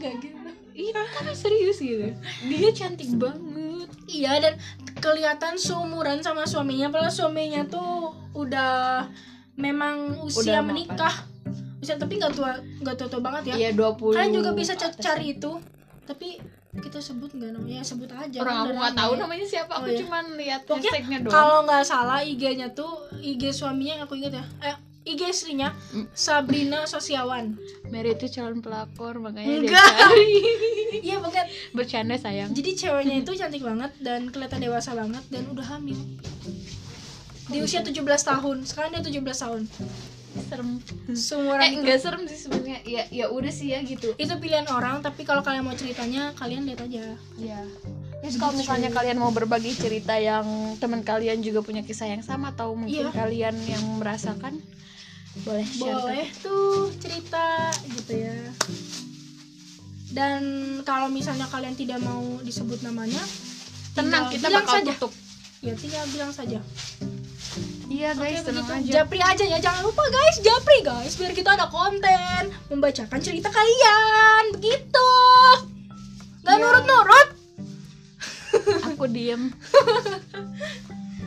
[SPEAKER 2] nggak gitu
[SPEAKER 1] iya tapi serius gitu dia cantik banget
[SPEAKER 2] Iya dan kelihatan seumuran sama suaminya padahal suaminya tuh udah memang usia
[SPEAKER 1] Udah mapan.
[SPEAKER 2] menikah. Usia tapi nggak tua nggak tua tua banget ya.
[SPEAKER 1] iya 20
[SPEAKER 2] Kalian juga bisa ca-
[SPEAKER 1] atas.
[SPEAKER 2] cari itu. Tapi kita sebut nggak namanya sebut aja.
[SPEAKER 1] orang
[SPEAKER 2] kan
[SPEAKER 1] aku
[SPEAKER 2] udah
[SPEAKER 1] nggak
[SPEAKER 2] rame.
[SPEAKER 1] tahu namanya siapa aku
[SPEAKER 2] Oh, iya.
[SPEAKER 1] cuman lihat
[SPEAKER 2] Pokoknya
[SPEAKER 1] hashtagnya doang
[SPEAKER 2] Kalau nggak salah IG-nya tuh IG suaminya yang aku ingat ya. Eh, IG istrinya
[SPEAKER 1] Mm.
[SPEAKER 2] Sabrina Sosiawan.
[SPEAKER 1] Mary itu calon pelakor makanya
[SPEAKER 2] Enggak.
[SPEAKER 1] dia cari
[SPEAKER 2] Iya banget.
[SPEAKER 1] bercanda sayang
[SPEAKER 2] Jadi ceweknya itu cantik banget dan kelihatan dewasa banget dan udah hamil. Di usia 17 tahun. Sekarang dia 17 tahun.
[SPEAKER 1] serem
[SPEAKER 2] Semua
[SPEAKER 1] eh enggak serem sih sebenarnya ya ya udah sih ya gitu
[SPEAKER 2] itu pilihan orang, tapi kalau kalian mau ceritanya kalian lihat aja.
[SPEAKER 1] ya terus kalau misalnya kalian mau berbagi cerita yang teman kalian juga punya kisah yang sama atau
[SPEAKER 2] Iya.
[SPEAKER 1] mungkin kalian yang merasakan boleh share
[SPEAKER 2] Boleh tuh cerita gitu ya. Dan kalau misalnya kalian tidak mau disebut namanya,
[SPEAKER 1] tenang
[SPEAKER 2] tinggal
[SPEAKER 1] kita
[SPEAKER 2] bilang
[SPEAKER 1] bakal
[SPEAKER 2] saja.
[SPEAKER 1] tutup
[SPEAKER 2] Ya tinggal bilang saja.
[SPEAKER 1] iya
[SPEAKER 2] Oke,
[SPEAKER 1] guys tenang
[SPEAKER 2] begitu.
[SPEAKER 1] aja
[SPEAKER 2] Japri aja ya, jangan lupa guys, Japri guys, biar kita ada konten membacakan cerita kalian. Begitu. Gak
[SPEAKER 1] Iya.
[SPEAKER 2] nurut-nurut.
[SPEAKER 1] aku diem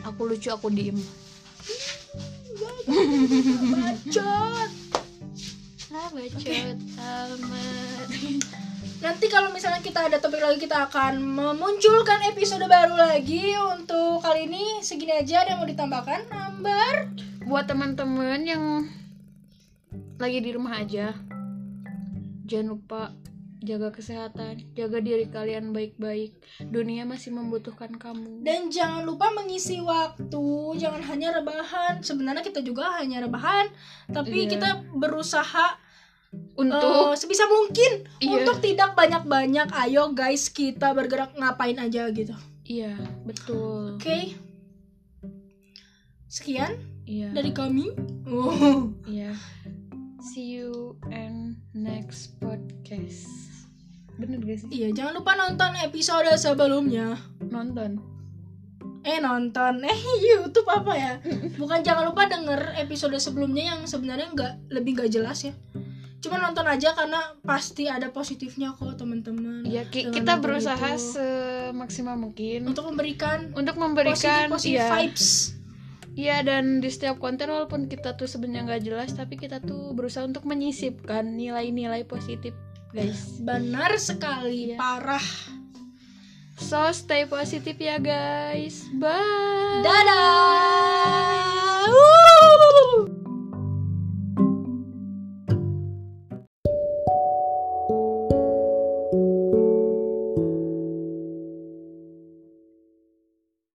[SPEAKER 1] aku lucu aku diem
[SPEAKER 2] Bacot.
[SPEAKER 1] ah bacot amat
[SPEAKER 2] Nanti kalau misalnya kita ada topik lagi kita akan memunculkan episode baru lagi untuk kali ini segini aja ada yang mau ditambahkan number
[SPEAKER 1] buat teman-teman yang lagi di rumah aja jangan lupa jaga kesehatan jaga diri kalian baik-baik dunia masih membutuhkan kamu
[SPEAKER 2] dan jangan lupa mengisi waktu jangan hanya rebahan sebenarnya kita juga hanya rebahan tapi
[SPEAKER 1] Iya.
[SPEAKER 2] kita berusaha
[SPEAKER 1] untuk
[SPEAKER 2] eh, sebisa mungkin
[SPEAKER 1] Iya.
[SPEAKER 2] untuk tidak banyak-banyak ayo guys kita bergerak ngapain aja gitu oke
[SPEAKER 1] iya betul
[SPEAKER 2] sekian
[SPEAKER 1] iya
[SPEAKER 2] dari kami Oh.
[SPEAKER 1] iya see you and next podcast bener gak sih
[SPEAKER 2] iya jangan lupa nonton episode sebelumnya
[SPEAKER 1] nonton
[SPEAKER 2] eh nonton eh YouTube apa ya bukan jangan lupa denger episode sebelumnya yang sebenarnya nggak lebih nggak jelas ya cuma nonton aja karena pasti ada positifnya kok teman-teman
[SPEAKER 1] ya ki-
[SPEAKER 2] Dengan
[SPEAKER 1] kita
[SPEAKER 2] nonton
[SPEAKER 1] berusaha
[SPEAKER 2] itu.
[SPEAKER 1] semaksimal mungkin
[SPEAKER 2] untuk memberikan
[SPEAKER 1] untuk memberikan
[SPEAKER 2] positif positif
[SPEAKER 1] iya.
[SPEAKER 2] vibes
[SPEAKER 1] Iya dan di setiap konten walaupun kita tuh sebenarnya nggak jelas tapi kita tuh berusaha untuk menyisipkan nilai-nilai positif guys.
[SPEAKER 2] benar sekali
[SPEAKER 1] Iya.
[SPEAKER 2] parah
[SPEAKER 1] So stay positif ya guys. Bye.
[SPEAKER 2] dadah Wuh.